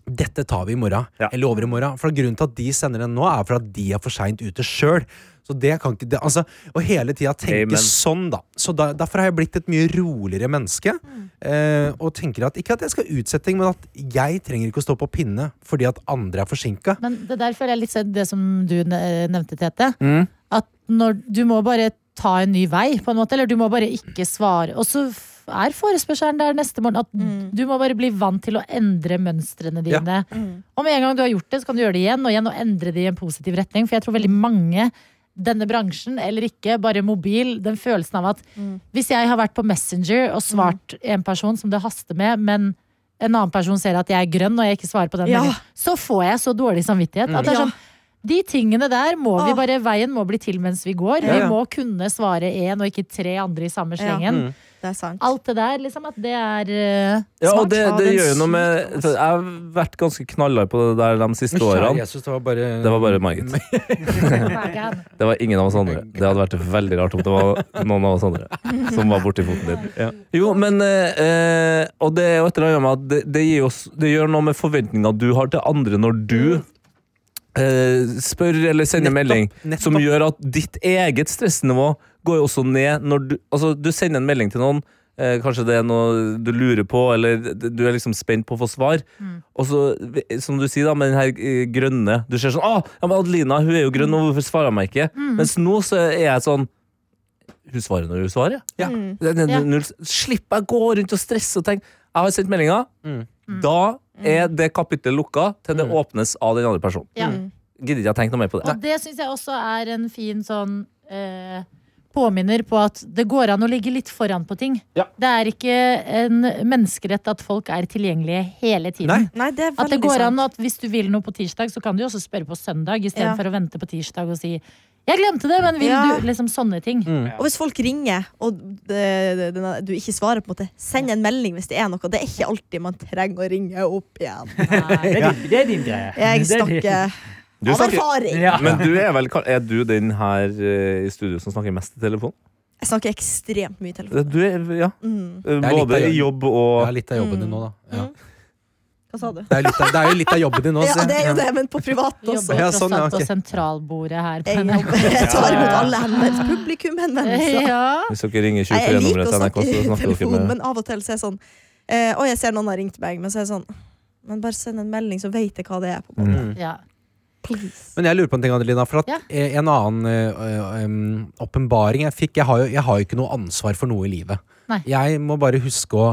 C: dette tar vi i morgen.
F: Ja.
C: Eller over i morgen. For grunnen til at de sender den nå, er for at de er for seint ute sjøl. Så det kan ikke det, altså, Og hele tida tenke
F: Amen.
C: sånn, da. Så da, derfor har jeg blitt et mye roligere menneske. Eh, og tenker at ikke at jeg skal utsetting, men at jeg trenger ikke å stå på pinne fordi at andre er forsinka.
B: Men det der føler jeg litt sånn det som du ne- nevnte, Tete. At når du må bare ta en ny vei, på en måte, eller du må bare ikke svare. Og så f- er forespørselen der neste morgen at du må bare bli vant til å endre mønstrene
C: Ja.
B: dine. Og med en gang du har gjort det, så kan du gjøre det igjen og igjen og endre det i en positiv retning. For jeg tror veldig mange denne bransjen, eller ikke, bare mobil, den følelsen av at hvis jeg har vært på Messenger og svart en person som det haster med, men en annen person ser at jeg er grønn og jeg ikke svarer på den,
D: Ja.
B: meldingen, så får jeg så dårlig samvittighet. At det er
D: Ja.
B: sånn, de tingene der må vi
D: Åh.
B: bare Veien må bli til mens vi går.
C: Ja, ja.
B: Vi må kunne svare én og ikke tre andre i samme
D: Ja.
B: slengen.
D: Det er sant.
B: Alt det der, liksom. At det er eh,
F: Ja, og
D: Smart.
F: det,
D: Ja,
F: det
D: den
F: gjør jo noe med
D: sykt,
F: så Jeg har vært ganske knallhard på det der de siste årene.
C: Jesus, det var bare,
F: Det var bare Margit.
B: hverdagen.
F: Det var ingen av oss andre. Det hadde vært veldig rart om det var noen av oss andre som var borti foten din. Jo, men eh, eh, Og det er jo et eller annet med at det, det, gir oss, det gjør noe med forventninga du har til andre når du eh, spør eller sender
C: Nettopp,
F: melding,
C: nettopp.
F: som gjør at ditt eget stressnivå går jo også ned når du Altså, du sender en melding til noen. eh, Kanskje det er noe du lurer på, eller du er liksom spent på å få svar.
C: Mm.
F: Og så, som du sier da, med den her eh, grønne Du ser sånn Å, ja, men Adelina, hun er jo grønn, og hvorfor svarer hun meg ikke?
C: Mm.
F: Mens nå så er jeg sånn Hun svarer når hun svarer.
C: Ja.
F: Det- det-
B: Ja.
F: null- Slipp jeg gå rundt og stresse og tenke Jeg har sendt meldinga.
C: Mm.
F: Da er det kapittelet lukka til det
C: Mm.
F: åpnes av den andre personen.
B: Ja.
F: Gidder ikke jeg tenke noe mer på det.
B: Og det syns jeg også er en fin sånn eh, Påminner på at det går an å ligge litt foran på ting.
F: Ja.
B: Det er ikke en menneskerett at folk er tilgjengelige hele tiden.
C: Nei.
D: Nei, det er
B: At det
D: veldig
B: går
D: sant.
B: an at hvis du vil noe på tirsdag, så kan du jo også spørre på søndag,
D: Ja.
B: istedenfor for å vente på tirsdag og si 'jeg glemte det, men vil
D: Ja.
B: du?' Liksom sånne ting.
C: Mm.
D: Og hvis folk ringer, og det, det, den- du ikke svarer, på en måte send en melding hvis det er noe. Det er ikke alltid man trenger å ringe opp igjen.
B: Nei.
E: Det er din, det er din greie.
D: Jeg
E: Det er din-
D: snakker
F: Du
D: av
F: snakker,
D: erfaring.
E: Ja.
F: men du er vel Er du den her eh, i studio som snakker mest i telefon?
D: Jeg snakker ekstremt mye i telefonen.
F: Du er, ja.
D: Mm.
F: Eh,
C: er litt av
F: Både i
C: jobben.
F: jobb
C: Det
F: og
C: er litt av jobben din nå, da. Ja.
D: Hva sa du?
C: Det, er litt av, det er jo litt av jobben din nå.
D: Ja,
C: så-
D: det er jo det, men på privat
B: Vi
D: også.
B: jobber
C: Ja,
B: tross
C: sånn, ja,
B: alt på
C: ok.
B: sentralbordet her.
D: Jeg,
B: På NRK.
D: jobber, jeg tar imot alle henvendelser. Publikum henvendelser.
B: Ja.
F: Hvis dere ringer
D: Nei, jeg liker
F: 23-nummeret
D: å
F: til NRK,
D: snakke i
F: så snakker dere
D: telefonen,
F: med
D: men av og til så er jeg sånn eh, Og jeg
C: Mm.
D: ser noen har ringt meg, men så er jeg sånn Men bare send en melding, så vet jeg hva det er. på en måte.
B: Ja. Please.
C: Men jeg lurer på en ting, Adelina. For at
B: Ja.
C: eh, en annen eh, em, åpenbaring jeg fikk Jeg har jo jeg har jo ikke noe ansvar for noe i livet.
B: Nei.
C: Jeg må bare huske å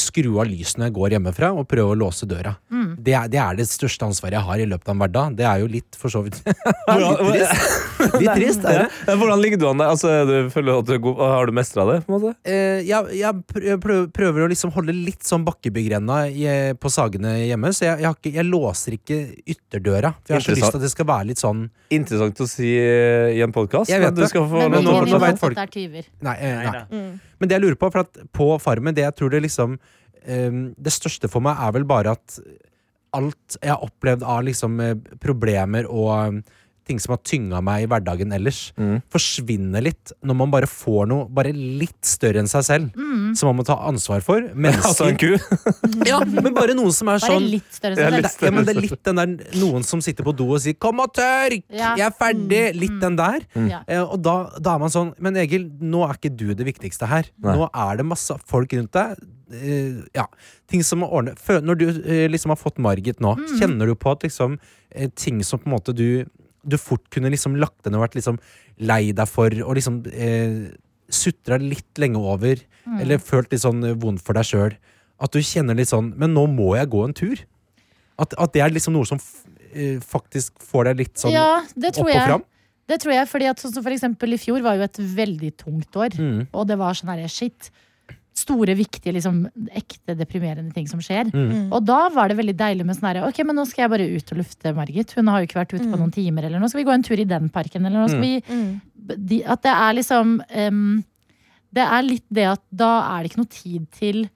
C: skru av lysene jeg går hjemmefra, og prøve å låse døra.
B: Mm.
C: Det, er, det er det største ansvaret jeg har i løpet av en hverdag. Det er jo litt, for så vidt Litt trist. Litt trist er det.
F: Ja, Hvordan ligger du an der? Altså, er du føler at du er god, har du mestra det? på en måte?
C: Eh, jeg, jeg prø- prøver, prøver å liksom holde litt sånn bakkebyggrenna i- på Sagene hjemme, så jeg, jeg, har ikke, jeg låser ikke ytterdøra. For jeg har så lyst
F: Interessant.
C: til at det skal være litt sånn
F: Interessant å si eh, i en podkast.
C: Jeg vet
F: Du
C: det.
F: skal få
B: Men
C: nå-
B: ingen
C: nå
B: vil
C: vet
B: at
C: folk-
B: dette er tyver.
C: Nei. eh, nei.
E: Nei, nei.
C: Men det jeg lurer på, for at på Farmen, det jeg tror det liksom ehm, Det største for meg er vel bare at alt jeg har opplevd av liksom eh, problemer og ehm, ting som har tynga meg i hverdagen ellers,
F: Mm.
C: forsvinner litt når man bare får noe bare litt større enn seg selv, som man må ta ansvar for.
F: Altså en
C: Mennesker,
F: ku.
C: ja, men bare noen som er
B: Bare
C: sånn
B: litt større
F: Det er
B: enn
F: litt
B: deg.
C: det, ja, men det er litt den der noen som sitter på do og sier 'kom og tørk',
B: Ja. Mm.
C: 'jeg er ferdig', litt den der.
B: Ja.
C: Eh, og da, da er man sånn Men Egil, nå er ikke du det viktigste her.
F: Nei.
C: Nå er det masse folk rundt deg. eh, ja, ting som må ordne Fø- Når du eh, liksom har fått Margit nå,
B: Mm.
C: kjenner du på at liksom eh, ting som på en måte du Du fort kunne liksom lagt ned og vært liksom lei deg for, og liksom uh, sutra litt lenge over,
B: Mm.
C: eller følt litt sånn eh, vondt for deg sjøl, at du kjenner litt sånn Men nå må jeg gå en tur. At, at det er liksom noe som f eh, faktisk får deg litt sånn
B: ja, det
C: opp
B: tror
C: og
B: jeg.
C: fram.
B: Det tror jeg, fordi at sånn som for eksempel i fjor var jo et veldig tungt år.
C: Mm.
B: Og det var sånn herre shit. Store, viktige, liksom ekte deprimerende ting som skjer.
C: Mm.
B: Og da var det veldig deilig med sånn herre Ok, men nå skal jeg bare ut og lufte Margit. Hun har jo ikke vært ute på noen timer, eller nå skal vi gå en tur i den parken, eller nå
C: Mm.
B: skal vi de, At det er liksom em, Det er litt det at da er det ikke noe tid til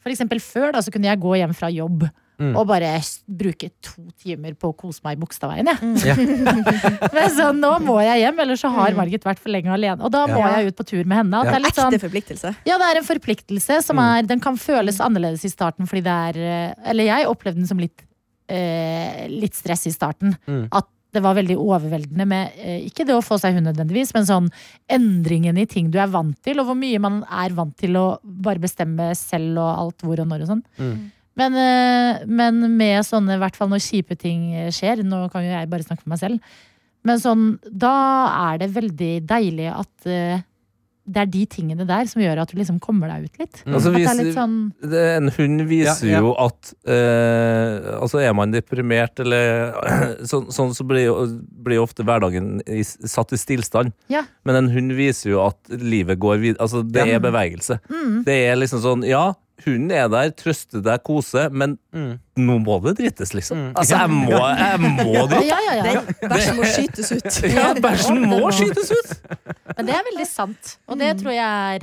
B: For eksempel før, da, så kunne jeg gå hjem fra jobb.
D: Mm.
B: Og bare s- bruke to timer på å kose meg i Bogstadveien, jeg.
D: Mm.
B: Men sånn, nå må jeg hjem, ellers så har Margit vært for lenge alene. Og da må
D: Ja.
B: jeg ut på tur med henne. At det er litt
D: Ekte
B: sånn,
D: forpliktelse.
B: ja, det er en forpliktelse som
C: Mm.
B: er Den kan føles annerledes i starten fordi det er eh, Eller jeg opplevde den som litt, eh, litt stress i starten.
C: Mm.
B: At det var veldig overveldende med eh, ikke det å få seg hund nødvendigvis, men sånn endringen i ting du er vant til, og hvor mye man er vant til å bare bestemme selv og alt hvor og når og sånn.
C: Mm.
B: Men, eh, men med sånne, i hvert fall når kjipe ting eh, skjer, nå kan jo jeg bare snakke for meg selv, men sånn, da er det veldig deilig at eh, det er de tingene der som gjør at du liksom kommer deg ut litt.
F: Altså,
B: At det er
F: hvis-
B: litt sånn
F: Det, en hund viser
C: Ja, ja.
F: jo at eh, Altså, er man deprimert eller Sånn sånn så blir jo blir jo ofte hverdagen i, satt i stillstand.
B: Ja.
F: Men en hund viser jo at livet går videre. Altså, det
C: Ja. Mm.
F: er bevegelse. Det er liksom sånn Ja, hunden er der, trøster deg, koser, men
C: Mm.
F: nå må det drites, liksom. Altså, jeg må, jeg må
B: Ja,
F: drite.
B: ja, ja. ja.
D: Den bæsjen må skytes ut.
B: Ja,
F: Ja, bæsjen
B: det
F: må
B: må.
F: skytes ut!
B: Men det er veldig sant. Og det tror jeg er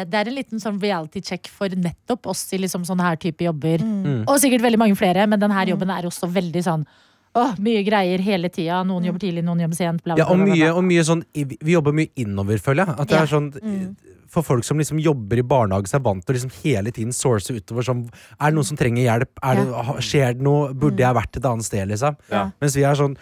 B: eh, Det er en liten sånn reality check for nettopp oss i liksom sånne her type jobber.
C: Mm.
B: Og sikkert veldig mange flere, men denne jobben er også veldig sånn Åh, mye greier hele tida. Noen jobber tidlig, noen jobber sent. Bla, bla,
C: Ja, og
B: bla, bla, bla.
C: mye, og mye sånn Vi vi jobber mye innover, føler jeg. At det
B: Ja.
C: er sånn For folk som liksom jobber i barnehage, som er vant til å liksom hele tiden source utover sånn Er det noen som trenger hjelp? Er det, ha- Skjer det noe? Burde jeg vært et annet sted, liksom?
F: Ja.
C: Mens vi er sånn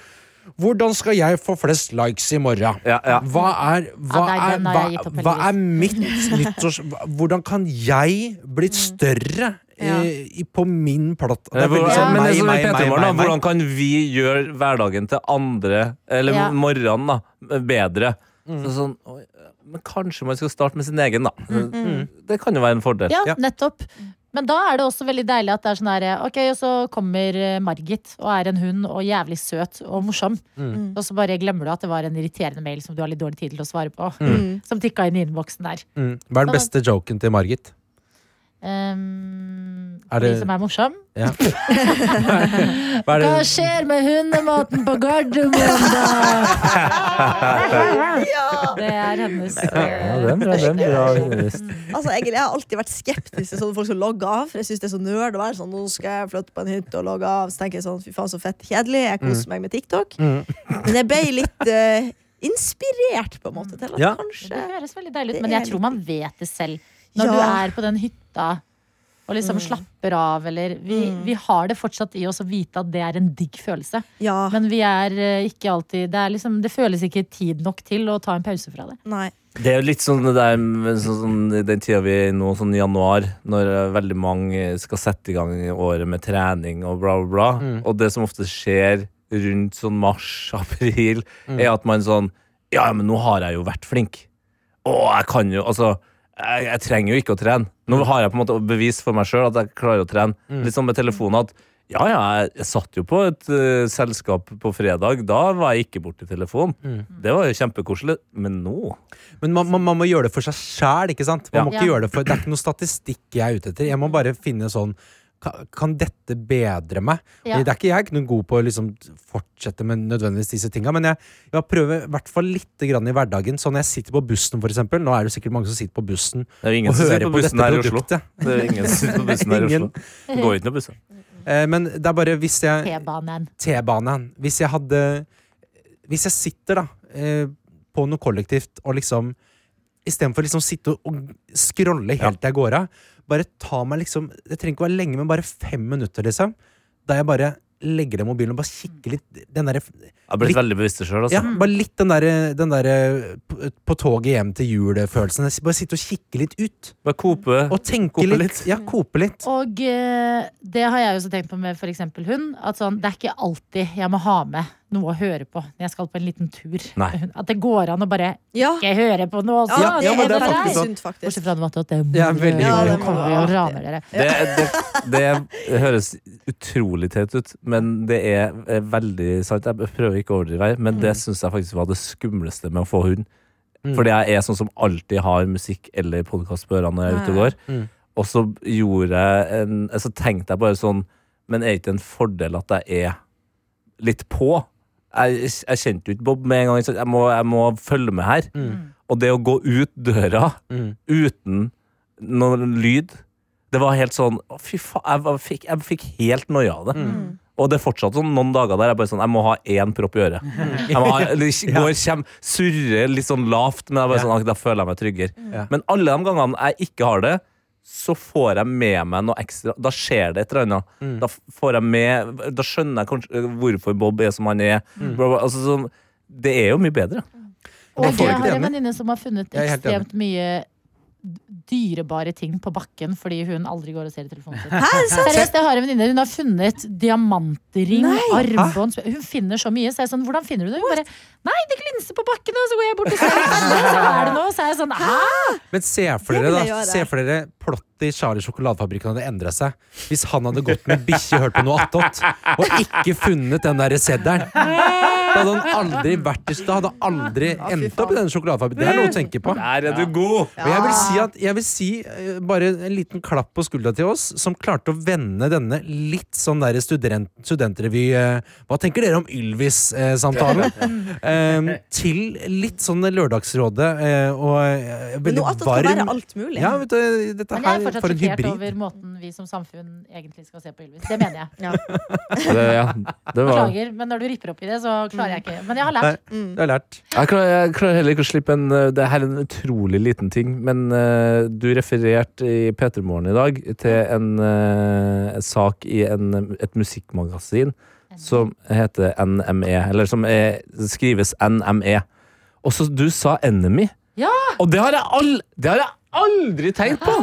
C: hvordan skal jeg få flest likes i morgen?
F: Ja, ja.
C: Hva er, hva,
B: Ja,
C: er,
B: den har
C: hva,
B: jeg gitt opp,
C: hva er mitt nyttårs... hva- Hvordan kan jeg bli større
D: Ja.
C: eh, i, på min platt? Det
F: Eh, Men
C: er veldig sånn
F: det
C: meg,
F: som i
C: meg, meg,
F: Petremorgen, da,
C: meg, meg.
F: Hvordan kan vi gjøre hverdagen til andre, eller
B: Ja.
F: morgenen, da, bedre?
C: Mm.
F: Så sånn, oi, men kanskje man skal starte med sin egen, da. Det kan jo være en fordel.
B: Mm, Ja,
C: Ja.
B: nettopp. Men da er det også veldig deilig at det er sånn her Ok, og så kommer eh, Margit og er en hund og jævlig søt og morsom.
C: Mm.
B: Og så bare glemmer du at det var en irriterende mail som du har litt dårlig tid til å svare på. Som tikka inn i innboksen der.
C: Mm. Hva er den beste joken til Margit?
B: Um,
C: Er det-
B: De som er morsom?
C: Ja. Hva er det?
B: Hva skjer med hundematen på Gardermoen, da? Det er hennes eh,
D: Altså, Egil, jeg har alltid vært skeptisk til sånne folk som logger av. For jeg synes det er så nerd å være sånn Nå skal jeg flytte på en hytte og logge av. Så tenker jeg sånn, fy faen, så fett kjedelig.
C: Mm.
D: Jeg koser meg med TikTok. Men jeg ble litt eh, inspirert, på en måte, til at
C: Ja.
B: Det
D: kanskje
B: høres veldig deilig ut,
D: Det
B: men
D: er
B: jeg tror
D: litt-
B: man vet det selv. Når
D: Ja. Mm.
B: du er på den hytta og liksom slapper av, eller vi, vi har det fortsatt i oss å vite at det er en digg følelse.
D: Ja.
B: Men vi er eh, ikke alltid Det, er liksom, det føles ikke tid nok til å ta en pause fra det.
D: Nei.
F: Det er jo litt sånn det der med sånn, sånn, i den tida vi er i nå, sånn i januar, når eh, veldig mange skal sette i gang året med trening og bla, bla, bla. Og det som ofte skjer rundt sånn mars-april, er at man sånn Ja, men nå har jeg jo vært flink. Å, jeg kan jo Altså, jeg, jeg trenger jo ikke å trene. Nå har jeg på en måte bevis for meg sjøl at jeg klarer å trene. Litt sånn med telefonen at ja, ja, jeg, jeg satt jo på et eh, selskap på fredag. Da var jeg ikke borti telefonen. Det var jo kjempekoselig. Men nå
C: Men man, man, man må gjøre det for seg sjæl, ikke sant? Man
F: Ja.
C: må ikke
B: Ja.
C: gjøre det, for, det er ikke noe statistikk jeg er ute etter. Jeg må bare finne sånn ka- kan dette bedre meg?
B: Ja.
C: Det er ikke jeg er ikke noe god på å liksom fortsette med nødvendigvis disse tinga, men jeg, jeg prøver i hvert fall litt grann i hverdagen. Sånn når jeg sitter på bussen, for eksempel. Nå er det jo sikkert mange som sitter på bussen
F: Det er jo ingen
C: og
F: som
C: hører
F: sitter
C: på,
F: på bussen
C: dette
F: her i Oslo.
C: produktet.
F: Det er ingen som sitter på bussen her i
C: Ingen.
F: Oslo. Det går ikke noe busser.
C: Eh, men det er bare hvis jeg
B: T-banen.
C: T-banen. Hvis jeg hadde Hvis jeg sitter da eh, på noe kollektivt og liksom Istedenfor liksom sitte og- og scrolle helt til jeg går av. Bare ta meg liksom Det trenger ikke å være lenge, men bare fem minutter, liksom. Da jeg bare legger ned mobilen og bare kikker litt den der,
F: Jeg har blitt
C: Litt-
F: veldig bevisst sjøl,
C: ja,
F: altså.
C: Bare litt den derre den der, på, på toget hjem til jul-følelsen. Jeg Bare sitte og kikke litt ut.
F: Bare kope.
C: Og tenke
F: Kope
C: litt.
F: litt.
C: Ja, kope litt.
B: Og eh, det har jeg også tenkt på med f.eks. hund. At sånn, det er ikke alltid jeg må ha med noe å høre på når jeg skal på en liten tur.
F: Nei.
B: At det går an å bare
D: Ja.
B: ikke høre på noe også.
C: Ja, ja, men det er
B: bare
C: faktisk sånn.
B: deg.
D: sunt,
B: Bortsett
D: faktisk.
B: fra den måten at den
C: Ja, veldig
B: Ja,
D: god.
B: den kommer og raner dere.
F: Det, det, det høres utrolig teit ut, men det er eh, veldig sant. Jeg prøver ikke å overdrive her, men det
C: Mm.
F: syns jeg faktisk var det skumleste med å få hund. Fordi jeg er sånn som alltid har musikk eller podkast på ørene når jeg er ute og går.
C: Mm.
F: Og så gjorde jeg en Så tenkte jeg bare sånn Men er det ikke en fordel at jeg er litt på? Jeg, jeg kjente jo ikke Bob med en gang. så Jeg må, jeg må følge med her.
C: Mm.
F: Og det å gå ut døra
C: Mm.
F: uten noe lyd. Det var helt sånn å, Fy faen, jeg, var- fikk, jeg fikk helt noia av det. Og det fortsatte sånn noen dager der. Jeg bare sånn, jeg må ha én propp i øret. Jeg må ha, eller ikke- går, kjem, surrer litt sånn lavt, men jeg bare
C: Ja.
F: sånn, «Ah, da føler jeg meg tryggere.
C: Ja.
F: Men alle de gangene jeg ikke har det, så får jeg med meg noe ekstra. Da skjer det et eller annet. Da, f- får jeg med, da skjønner jeg kanskje øh, hvorfor Bob er som han er. Bla, bla, altså, sånn, det er jo mye bedre.
C: Jeg
B: Og
C: får
B: jeg
C: ikke
B: har
C: det
B: en
C: enig.
B: venninne som har funnet
C: Jeg er helt
B: ekstremt mye dyrebare ting på bakken fordi hun aldri går og ser i telefonen sin.
D: Hæ, sant?
B: Seriøst, jeg har en venninne Hun har funnet diamantring, armbånd sp- Hun finner så mye. Så jeg er sånn, hvordan finner du det? Hun bare Nei, det glinser på bakken, og så går jeg bort og ser det. Så er det noe. Så er jeg sånn Hæ?
C: Men se for
D: Det
C: dere
D: vil jeg
C: da
D: gjøre.
C: Se for dere plottet i Charlie Sjokoladefabrikken hadde endret seg Hvis han hadde gått med bikkje hørt på noe attåt Og ikke funnet den der sedderen Da hadde han aldri vært i sted Hadde aldri
D: Ja, fy
C: endt opp i
D: faen.
C: den sjokoladefabrikken Det er noe å tenke på
F: Der er du god!
C: og jeg vil si, at, jeg vil si eh, bare en liten klapp på skuldra til oss Som klarte å vende denne litt sånn der student, studentrevy eh, Hva tenker dere om Ylvis-samtalen? Eh, til litt sånn lørdagsrådet eh, Og eh,
D: Men
C: veldig
D: noe annet kan
C: varm
D: være alt mulig.
C: ja, vet du,
B: Men jeg
C: dette
B: er
C: her
B: fortsatt
C: for en
B: sjokkert
C: hybrid.
B: over måten vi som samfunn egentlig skal se på Ylvis. Det mener jeg.
F: Det, ja, det var
B: Beklager, men når du ripper opp i det, så klarer jeg ikke. Men jeg har lært.
C: Nei, det har jeg lært.
F: Jeg klarer, jeg klarer heller ikke å slippe en eh, Det her er en utrolig liten ting, men eh, du refererte i P3 Morgen i dag til en eh, sak i en, et musikkmagasin som heter NME, eller som er, skrives NME. Og så du sa Enemy.
B: Ja!
F: Og det har jeg, all, det har jeg aldri tenkt på!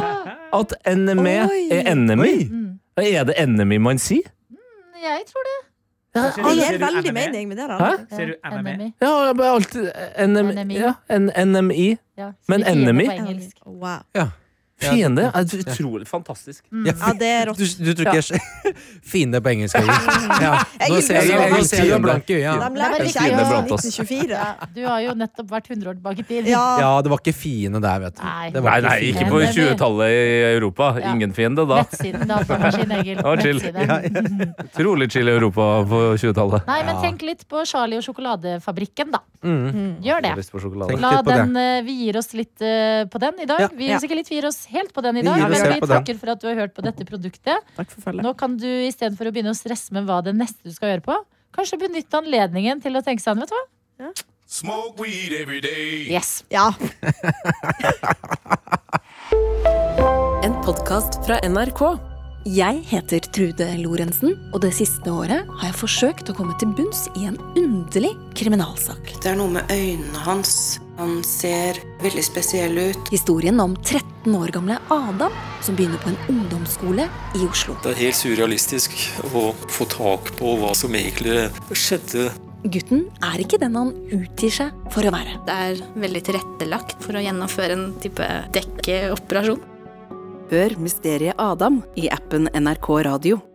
F: At NME
D: Oi.
F: er enemy. Er det enemy man sier?
B: Mm. Jeg tror det.
D: Det gir veldig mening med det. da.
F: Hæ?
E: Ser du
B: Ja,
E: NME?
F: Ja, jeg bare alltid NME.
B: NMI.
F: Ja, en, NMI.
B: Ja, så
F: Men
B: vi sier det
F: enemy?
B: på engelsk.
D: Wow.
F: Fiende er utrolig fantastisk.
C: Ja,
D: Ja, det er rått.
C: du, du tror ikke jeg Fine på engelsk. August. Ja. Nå
D: Jeg
C: ser jeg,
D: elsker
C: nå ser jeg du er
F: det.
C: blank i
D: De
C: øyet. ja.
B: Det er
D: lærte
B: bare
D: ikke jeg
B: fine
D: fra
F: blant oss.
D: 1924.
B: Ja, du har jo nettopp vært 100 år tilbake i tid.
D: Ja.
C: Ja, det var ikke fiende der, vet du.
B: Nei.
C: Det
F: Nei,
C: var
F: nei, ikke
C: fiende.
F: på
B: Enemy.
F: 20-tallet i Europa.
B: Ja.
F: Ingen fiende da.
B: Nettsiden datamaskin, Egil.
F: var chill.
B: Nettside.
F: Utrolig chill i Europa på 20-tallet.
B: Nei, men tenk litt på Charlie og sjokoladefabrikken, da.
F: Mm.
B: Mm. Gjør det.
F: Lyst på sjokolade.
C: Tenk
B: La
C: litt på
B: den, eh, vi gir oss litt eh, på den i dag.
C: Ja.
B: Vi gir oss ikke litt, vi gir oss helt på den i
C: Vi
B: dag.
C: gir oss
B: men
C: helt
B: vi
C: på den.
B: takker for at du har hørt på dette produktet.
D: Takk for følget.
B: Nå kan du istedenfor å begynne å stresse med hva det neste du skal gjøre på, kanskje benytte anledningen til å tenke seg an, vet du hva.
H: Smoke weed every day.
B: Yes.
D: Ja.
I: En podkast fra NRK.
J: Jeg heter Trude Lorentzen, og det siste året har jeg forsøkt å komme til bunns i en underlig kriminalsak.
K: Det er noe med øynene hans. Han ser veldig spesiell ut.
J: Historien om 13 år gamle Adam som begynner på en ungdomsskole i Oslo.
L: Det er helt surrealistisk å få tak på hva som egentlig skjedde.
J: Gutten er ikke den han utgir seg for å være.
M: Det er veldig tilrettelagt for å gjennomføre en type dekkeoperasjon.
I: Hør mysteriet Adam i appen NRK Radio.